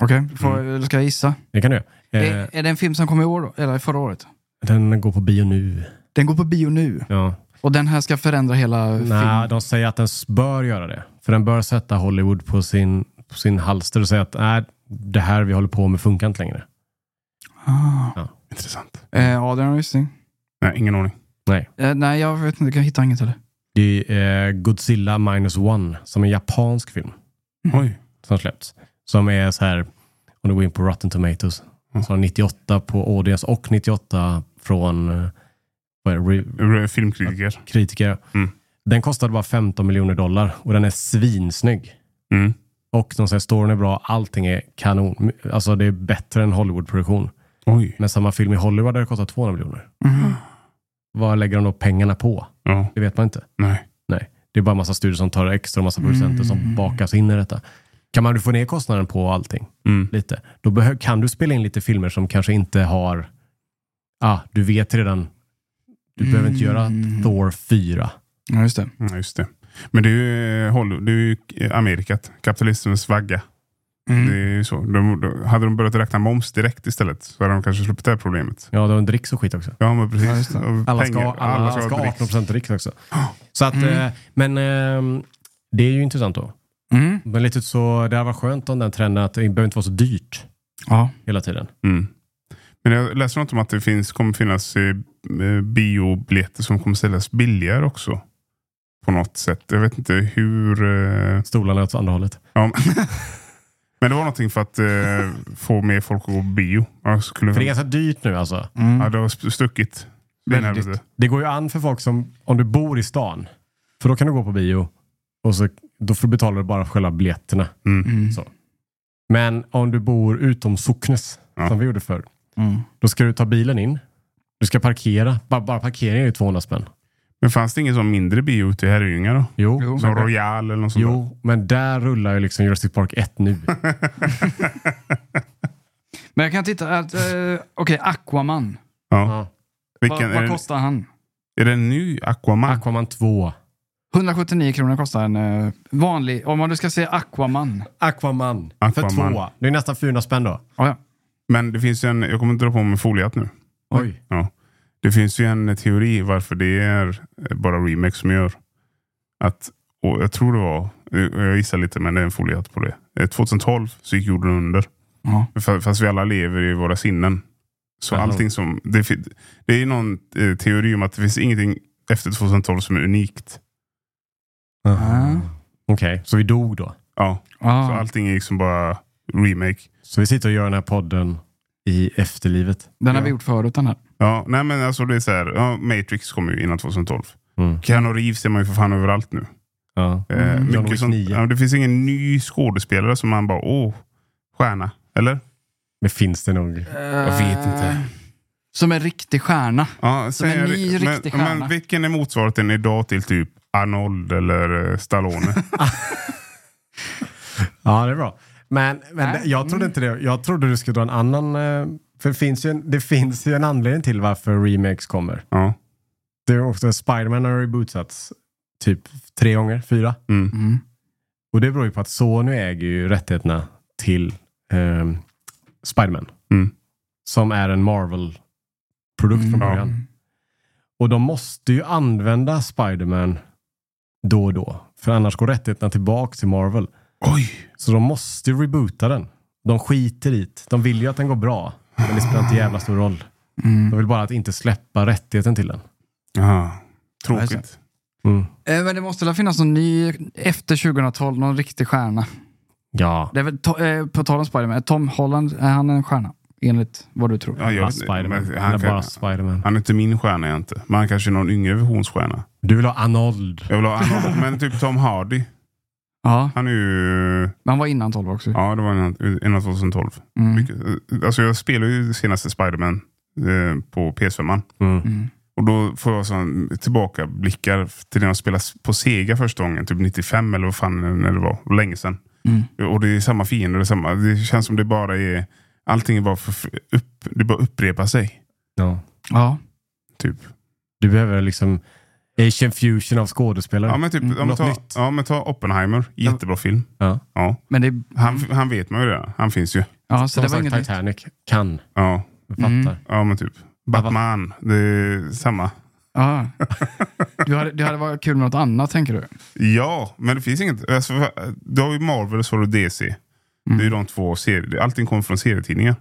Speaker 3: Okej, får- eller ska jag gissa?
Speaker 1: Det kan du göra. eh,
Speaker 3: Är, är det en film som kom i år, då? eller förra året?
Speaker 1: Den går på bio nu.
Speaker 3: Den går på bio nu.
Speaker 1: Ja.
Speaker 3: Och den här ska förändra hela
Speaker 1: Nej,
Speaker 3: filmen.
Speaker 1: de säger att den s- bör göra det. För den bör sätta Hollywood på sin, på sin halster och säga att nej, det här vi håller på med funkar inte längre.
Speaker 3: Ah.
Speaker 2: Intressant.
Speaker 3: Eh, Adrian har gissning.
Speaker 2: Nej, ingen aning.
Speaker 1: Nej.
Speaker 3: Eh, nej, jag vet inte. Jag hittar inget heller.
Speaker 1: Det är eh, Godzilla minus one som är en japansk film.
Speaker 2: Oj.
Speaker 1: som släppts. Som är så här, om du går in på Rotten Tomatoes, så har 98 på audience och 98 från eh, vad är det, re-
Speaker 2: Ur- Filmkritiker.
Speaker 1: kritiker.
Speaker 2: Mm.
Speaker 1: Den kostade bara 15 miljoner dollar och den är svinsnygg.
Speaker 2: Mm.
Speaker 1: Och de säger storyn är bra, allting är kanon. Alltså det är bättre än Hollywood-produktion.
Speaker 2: Oj.
Speaker 1: Men samma film i Hollywood hade kostat 200 miljoner. Vad lägger de då pengarna på?
Speaker 2: Ja.
Speaker 1: Det vet man inte.
Speaker 2: Nej.
Speaker 1: Nej, det är bara massa studier som tar extra och massa producenter
Speaker 2: Mm.
Speaker 1: som bakas in i detta. Kan man få ner kostnaden på allting
Speaker 2: Mm.
Speaker 1: lite, då behö- kan du spela in lite filmer som kanske inte har... Ah, du vet redan. Du behöver inte göra
Speaker 2: Mm.
Speaker 1: Thor 4.
Speaker 3: Ja, just det.
Speaker 2: Ja, Mm, just det. Men det är ju, eh, Hollywood- det är ju eh, Amerikat. Kapitalismens vagga.
Speaker 3: Mm.
Speaker 2: Det är ju så. De, de, hade de börjat räkna moms direkt istället så hade de kanske sluppit det här problemet.
Speaker 1: Ja, det var en dricks och skit också.
Speaker 2: Ja, men precis.
Speaker 3: Ja, just det.
Speaker 2: Och
Speaker 1: Alla ska,
Speaker 2: pengar.
Speaker 1: alla, alla ska,
Speaker 2: ha
Speaker 1: ha
Speaker 2: dricks. Ah. Mm.
Speaker 1: 18% dricks också. Så att, eh, men eh, det är ju intressant då.
Speaker 3: Mm.
Speaker 1: Men lite så, det hade varit skönt om den trenden att det behöver inte vara så dyrt
Speaker 3: Ja.
Speaker 1: hela tiden.
Speaker 2: Mm. Men jag läste något om att det finns, kommer finnas eh, eh, biobiljetter som kommer säljas billigare också. På något sätt. Jag vet inte hur... eh,
Speaker 1: Stolarna åt andra hållet.
Speaker 2: Ja. Men det var någonting för
Speaker 1: *laughs*
Speaker 2: att eh, få mer folk att gå på bio. Jag skulle,
Speaker 1: För det är ganska dyrt nu alltså.
Speaker 2: ja, det har st- stuckit. Det är
Speaker 1: Väldigt.
Speaker 2: nervigt.
Speaker 1: Det går ju an för folk som, om du bor i stan, för då kan du gå på bio och så, då får du betala bara för själva biljetterna.
Speaker 2: Mm.
Speaker 1: Så. Men om du bor utom socknes,
Speaker 2: Ja.
Speaker 1: som vi gjorde förr,
Speaker 3: Mm.
Speaker 1: då ska du ta bilen in, du ska parkera, bara, bara parkeringen är ju 200 spänn.
Speaker 2: Men fanns det ingen sån mindre bio ute i Herrljunga då?
Speaker 1: Jo,
Speaker 3: Jo.
Speaker 2: Som
Speaker 1: men,
Speaker 2: Royal eller något sånt där?
Speaker 1: jo, men där rullar ju liksom Jurassic Park 1 nu.
Speaker 3: Men jag kan titta. att, Eh, Okej, Aquaman.
Speaker 2: *laughs* Ja.
Speaker 1: ja.
Speaker 2: Vilken,
Speaker 3: Vad,
Speaker 2: är,
Speaker 3: vad
Speaker 2: det,
Speaker 3: kostar han?
Speaker 2: är det en ny Aquaman?
Speaker 1: Aquaman 2.
Speaker 3: 179 kronor kostar en eh, vanlig, om man nu ska säga Aquaman.
Speaker 1: Aquaman. För
Speaker 2: Aquaman.
Speaker 1: två. Det är nästan 400 spänn då.
Speaker 3: Ah, Ja, ja.
Speaker 2: Men det finns ju en, jag kommer inte dra på mig foliat nu.
Speaker 1: Oj.
Speaker 2: Ja. Det finns ju en teori varför det är eh, bara remake som gör. Att, och jag tror det var, jag gissar lite men det är en foliat på det. Eh, 2012 så gick jorden under.
Speaker 3: Ja.
Speaker 2: Fa- Fast vi alla lever i våra sinnen. Så
Speaker 1: Jaha.
Speaker 2: allting som... Det, fi- det är ju någon eh, teori om att det finns ingenting efter 2012 som är unikt.
Speaker 1: Okej, så vi dog då?
Speaker 2: Ja, så
Speaker 3: Ja.
Speaker 2: Ah, allting är liksom bara remake.
Speaker 1: Så vi sitter och gör den här podden i efterlivet.
Speaker 3: Den har vi
Speaker 2: Ja.
Speaker 3: gjort förut den här.
Speaker 2: Ja, nej men alltså det är så här, ja, Matrix kom ju innan 2012.
Speaker 1: Mm.
Speaker 2: Keanu Reeves ser man ju för fan överallt nu.
Speaker 1: Ja.
Speaker 2: Eh,
Speaker 3: Mm.
Speaker 1: John Wick
Speaker 2: mycket sånt,
Speaker 1: 9.
Speaker 2: ja, det finns ingen ny skådespelare som man bara, åh, stjärna. Eller?
Speaker 1: Men finns det nog?
Speaker 3: Jag
Speaker 2: vet inte.
Speaker 3: Eh, Som en riktig stjärna.
Speaker 2: Ja,
Speaker 3: Som
Speaker 2: säg
Speaker 3: en
Speaker 2: en
Speaker 3: ny
Speaker 2: ri-
Speaker 3: riktig
Speaker 2: men,
Speaker 3: stjärna.
Speaker 2: men vilken är motsvarigheten idag till typ Arnold eller eh, Stallone?
Speaker 1: Ja, det är bra. Men, men
Speaker 3: Nej.
Speaker 1: det- jag trodde inte det. Jag trodde du skulle dra en annan... eh, För det finns ju en, det finns ju en anledning till varför remakes kommer.
Speaker 2: ja.
Speaker 1: Det är ofta Spiderman har rebootats typ tre gånger, fyra.
Speaker 2: Mm.
Speaker 3: Mm.
Speaker 1: Och det beror ju på att Sony äger ju rättigheterna till ehm, Spiderman.
Speaker 2: Mm.
Speaker 1: Som är en Marvel-produkt
Speaker 3: Mm.
Speaker 1: från början. Och de måste ju använda Spiderman då och då. För annars går rättigheterna tillbaka till Marvel.
Speaker 2: Oj!
Speaker 1: Så de måste ju reboota den. De skiter i det. De vill ju att den går bra. Men det spelar inte jävla stor roll.
Speaker 3: Mm.
Speaker 1: De vill bara att inte släppa rättigheten till den. Mm.
Speaker 2: Ja, tråkigt.
Speaker 3: Eh, Men det måste väl finnas någon ny, efter 2012, någon riktig stjärna.
Speaker 1: Ja.
Speaker 3: Det är väl, to, eh, på tal om Spiderman, Tom Holland, är han en stjärna? Enligt vad du tror.
Speaker 2: Ja, jag,
Speaker 1: Bara
Speaker 2: vet-
Speaker 1: Spiderman.
Speaker 2: men
Speaker 1: Eller
Speaker 2: han,
Speaker 1: bara
Speaker 2: kan,
Speaker 1: Spiderman.
Speaker 2: han är inte min stjärna jag inte. Men han kanske är någon yngre visionsstjärna.
Speaker 1: Du vill ha Arnold.
Speaker 2: Jag vill ha Arnold, men typ Tom Hardy.
Speaker 3: Ja,
Speaker 2: Han är ju...
Speaker 3: men han var innan 12 också.
Speaker 2: Ja, det var innan, innan 2012.
Speaker 3: Mm.
Speaker 2: Mycket- Alltså jag spelar ju senaste Spiderman eh, på PS5. -an.
Speaker 1: Mm.
Speaker 3: Mm.
Speaker 2: Och då får jag sån tillbakablickar till när jag spelade på Sega första gången. Typ 95 eller vad fan när det var. Och Länge sedan.
Speaker 3: Mm.
Speaker 2: Och det är samma fiender. Det, är samma, det känns som det bara är... Allting är bara för, för upp, det bara upprepar sig.
Speaker 1: Ja.
Speaker 3: Ja.
Speaker 2: Typ.
Speaker 1: Du behöver liksom Asian fusion av skådespelare.
Speaker 2: Ja men, typ, ja, men
Speaker 1: Något
Speaker 2: ta,
Speaker 1: nytt.
Speaker 2: ja, men ta Oppenheimer. Jättebra film.
Speaker 1: Ja.
Speaker 2: Ja.
Speaker 3: Men det,
Speaker 2: Han, han vet man ju redan. Han finns ju.
Speaker 3: ja, så
Speaker 1: Som
Speaker 3: Alltså, det
Speaker 1: det
Speaker 3: var
Speaker 1: sagt,
Speaker 3: inget nytt.
Speaker 1: Titanic kan.
Speaker 2: Ja,
Speaker 1: Jag Fattar.
Speaker 3: Mm.
Speaker 2: ja men typ. Batman. Det är samma.
Speaker 3: Ja. Du hade, det hade varit kul med något annat tänker du?
Speaker 2: Ja, men det finns inget. Alltså, för- du har ju Marvel och så har du DC. Det är ju de två serier. Allting kommer från serietidningar.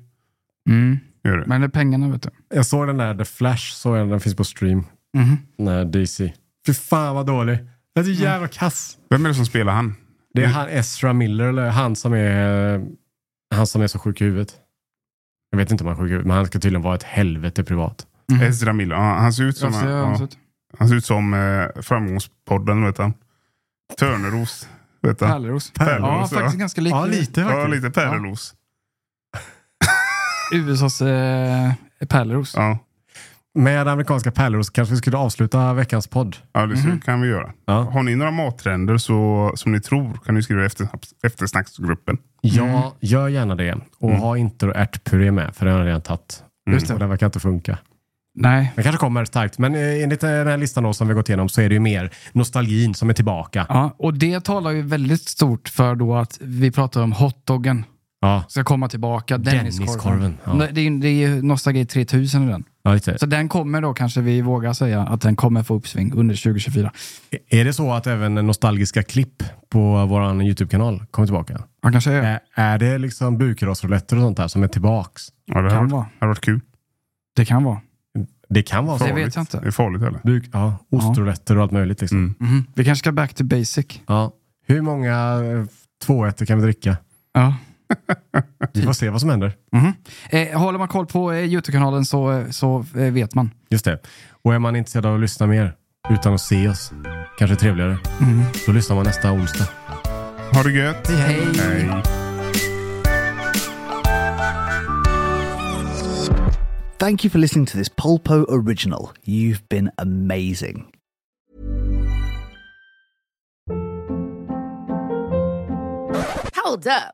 Speaker 3: Mm.
Speaker 2: Gör det.
Speaker 3: Men det är pengarna vet du.
Speaker 1: Jag såg den där The Flash, såg jag, den finns på stream.
Speaker 3: Mhm.
Speaker 1: Nej, DC. Fy fan vad dålig. Det är så jävla kass.
Speaker 2: Vem är det som spelar han?
Speaker 1: Det är han Ezra Miller, eller han som är, han som är så sjuk i huvudet. Jag vet inte om han är sjuk i huvudet, men han ska tydligen vara ett helvete privat.
Speaker 3: Mhm.
Speaker 2: Ezra Miller. Ja, han ser ut som,
Speaker 3: Jag ser
Speaker 2: ja,
Speaker 3: ögonen ut.
Speaker 2: han ser ut som eh, Framgångspodden, vet han. Törneros, vet han.
Speaker 3: Pärleros. Ja,
Speaker 2: Pärleros, ja.
Speaker 3: faktiskt ganska lik
Speaker 1: Ja, lite
Speaker 2: Ja,
Speaker 1: faktiskt.
Speaker 2: lite Pärleros.
Speaker 3: USAs eh, Pärleros.
Speaker 2: Ja.
Speaker 1: Med amerikanska pärlor så kanske vi skulle avsluta veckans podd.
Speaker 2: ja, det
Speaker 3: Mhm.
Speaker 2: så kan vi göra.
Speaker 1: Ja.
Speaker 2: Har ni några mattrender så, som ni tror kan ni skriva i efter, eftersnacksgruppen.
Speaker 1: Ja,
Speaker 3: Mm.
Speaker 1: gör gärna det. Och ha inte då ärtpuré med, för den har jag redan tagit.
Speaker 3: Just det.
Speaker 1: Och den verkar inte funka.
Speaker 3: Nej.
Speaker 1: Den kanske kommer starkt, men eh, enligt eh, den här listan då som vi gått igenom så är det ju mer nostalgin som är tillbaka.
Speaker 3: Ja, och det talar ju väldigt stort för då att vi pratar om hotdoggen.
Speaker 1: Ja,
Speaker 3: Ska komma tillbaka. Denniskorven.
Speaker 1: Denniskorven, ja.
Speaker 3: Nej, Det, är- det är ju Nostalgi 3000 i den.
Speaker 1: ja just det.
Speaker 3: Så den kommer då kanske vi vågar säga att den kommer få uppsving under 2024.
Speaker 1: Är det så att även nostalgiska klipp på vår YouTube-kanal kommer tillbaka?
Speaker 3: Han kanske är.
Speaker 1: Ä- Är det liksom bukrasrouletter och sånt där som är tillbaks?
Speaker 2: Ja, det
Speaker 3: Kan
Speaker 2: hade
Speaker 3: vara.
Speaker 2: varit, hade varit kul.
Speaker 3: Det kan vara.
Speaker 1: Det kan vara så.
Speaker 3: Det vet
Speaker 2: Farligt.
Speaker 3: jag inte.
Speaker 2: Det är farligt eller?
Speaker 1: Buk, ja, ostrouletter och allt möjligt. Liksom.
Speaker 2: Mm.
Speaker 3: Mhm. Vi kanske ska back to basic.
Speaker 1: Ja. Hur många eh, tvåätter kan vi dricka?
Speaker 3: Ja.
Speaker 1: Vi får se vad som händer.
Speaker 3: Mhm. Eh, håller man koll på eh, YouTube-kanalen så, eh, så eh, vet man.
Speaker 1: Just det. Och är man intresserad av att lyssna mer utan att se oss, kanske trevligare, då lyssnar man nästa onsdag.
Speaker 2: Ha det gött.
Speaker 3: Hej.
Speaker 2: Hej.
Speaker 5: Thank you for listening to this Polpo original. You've been amazing.
Speaker 4: Hold up.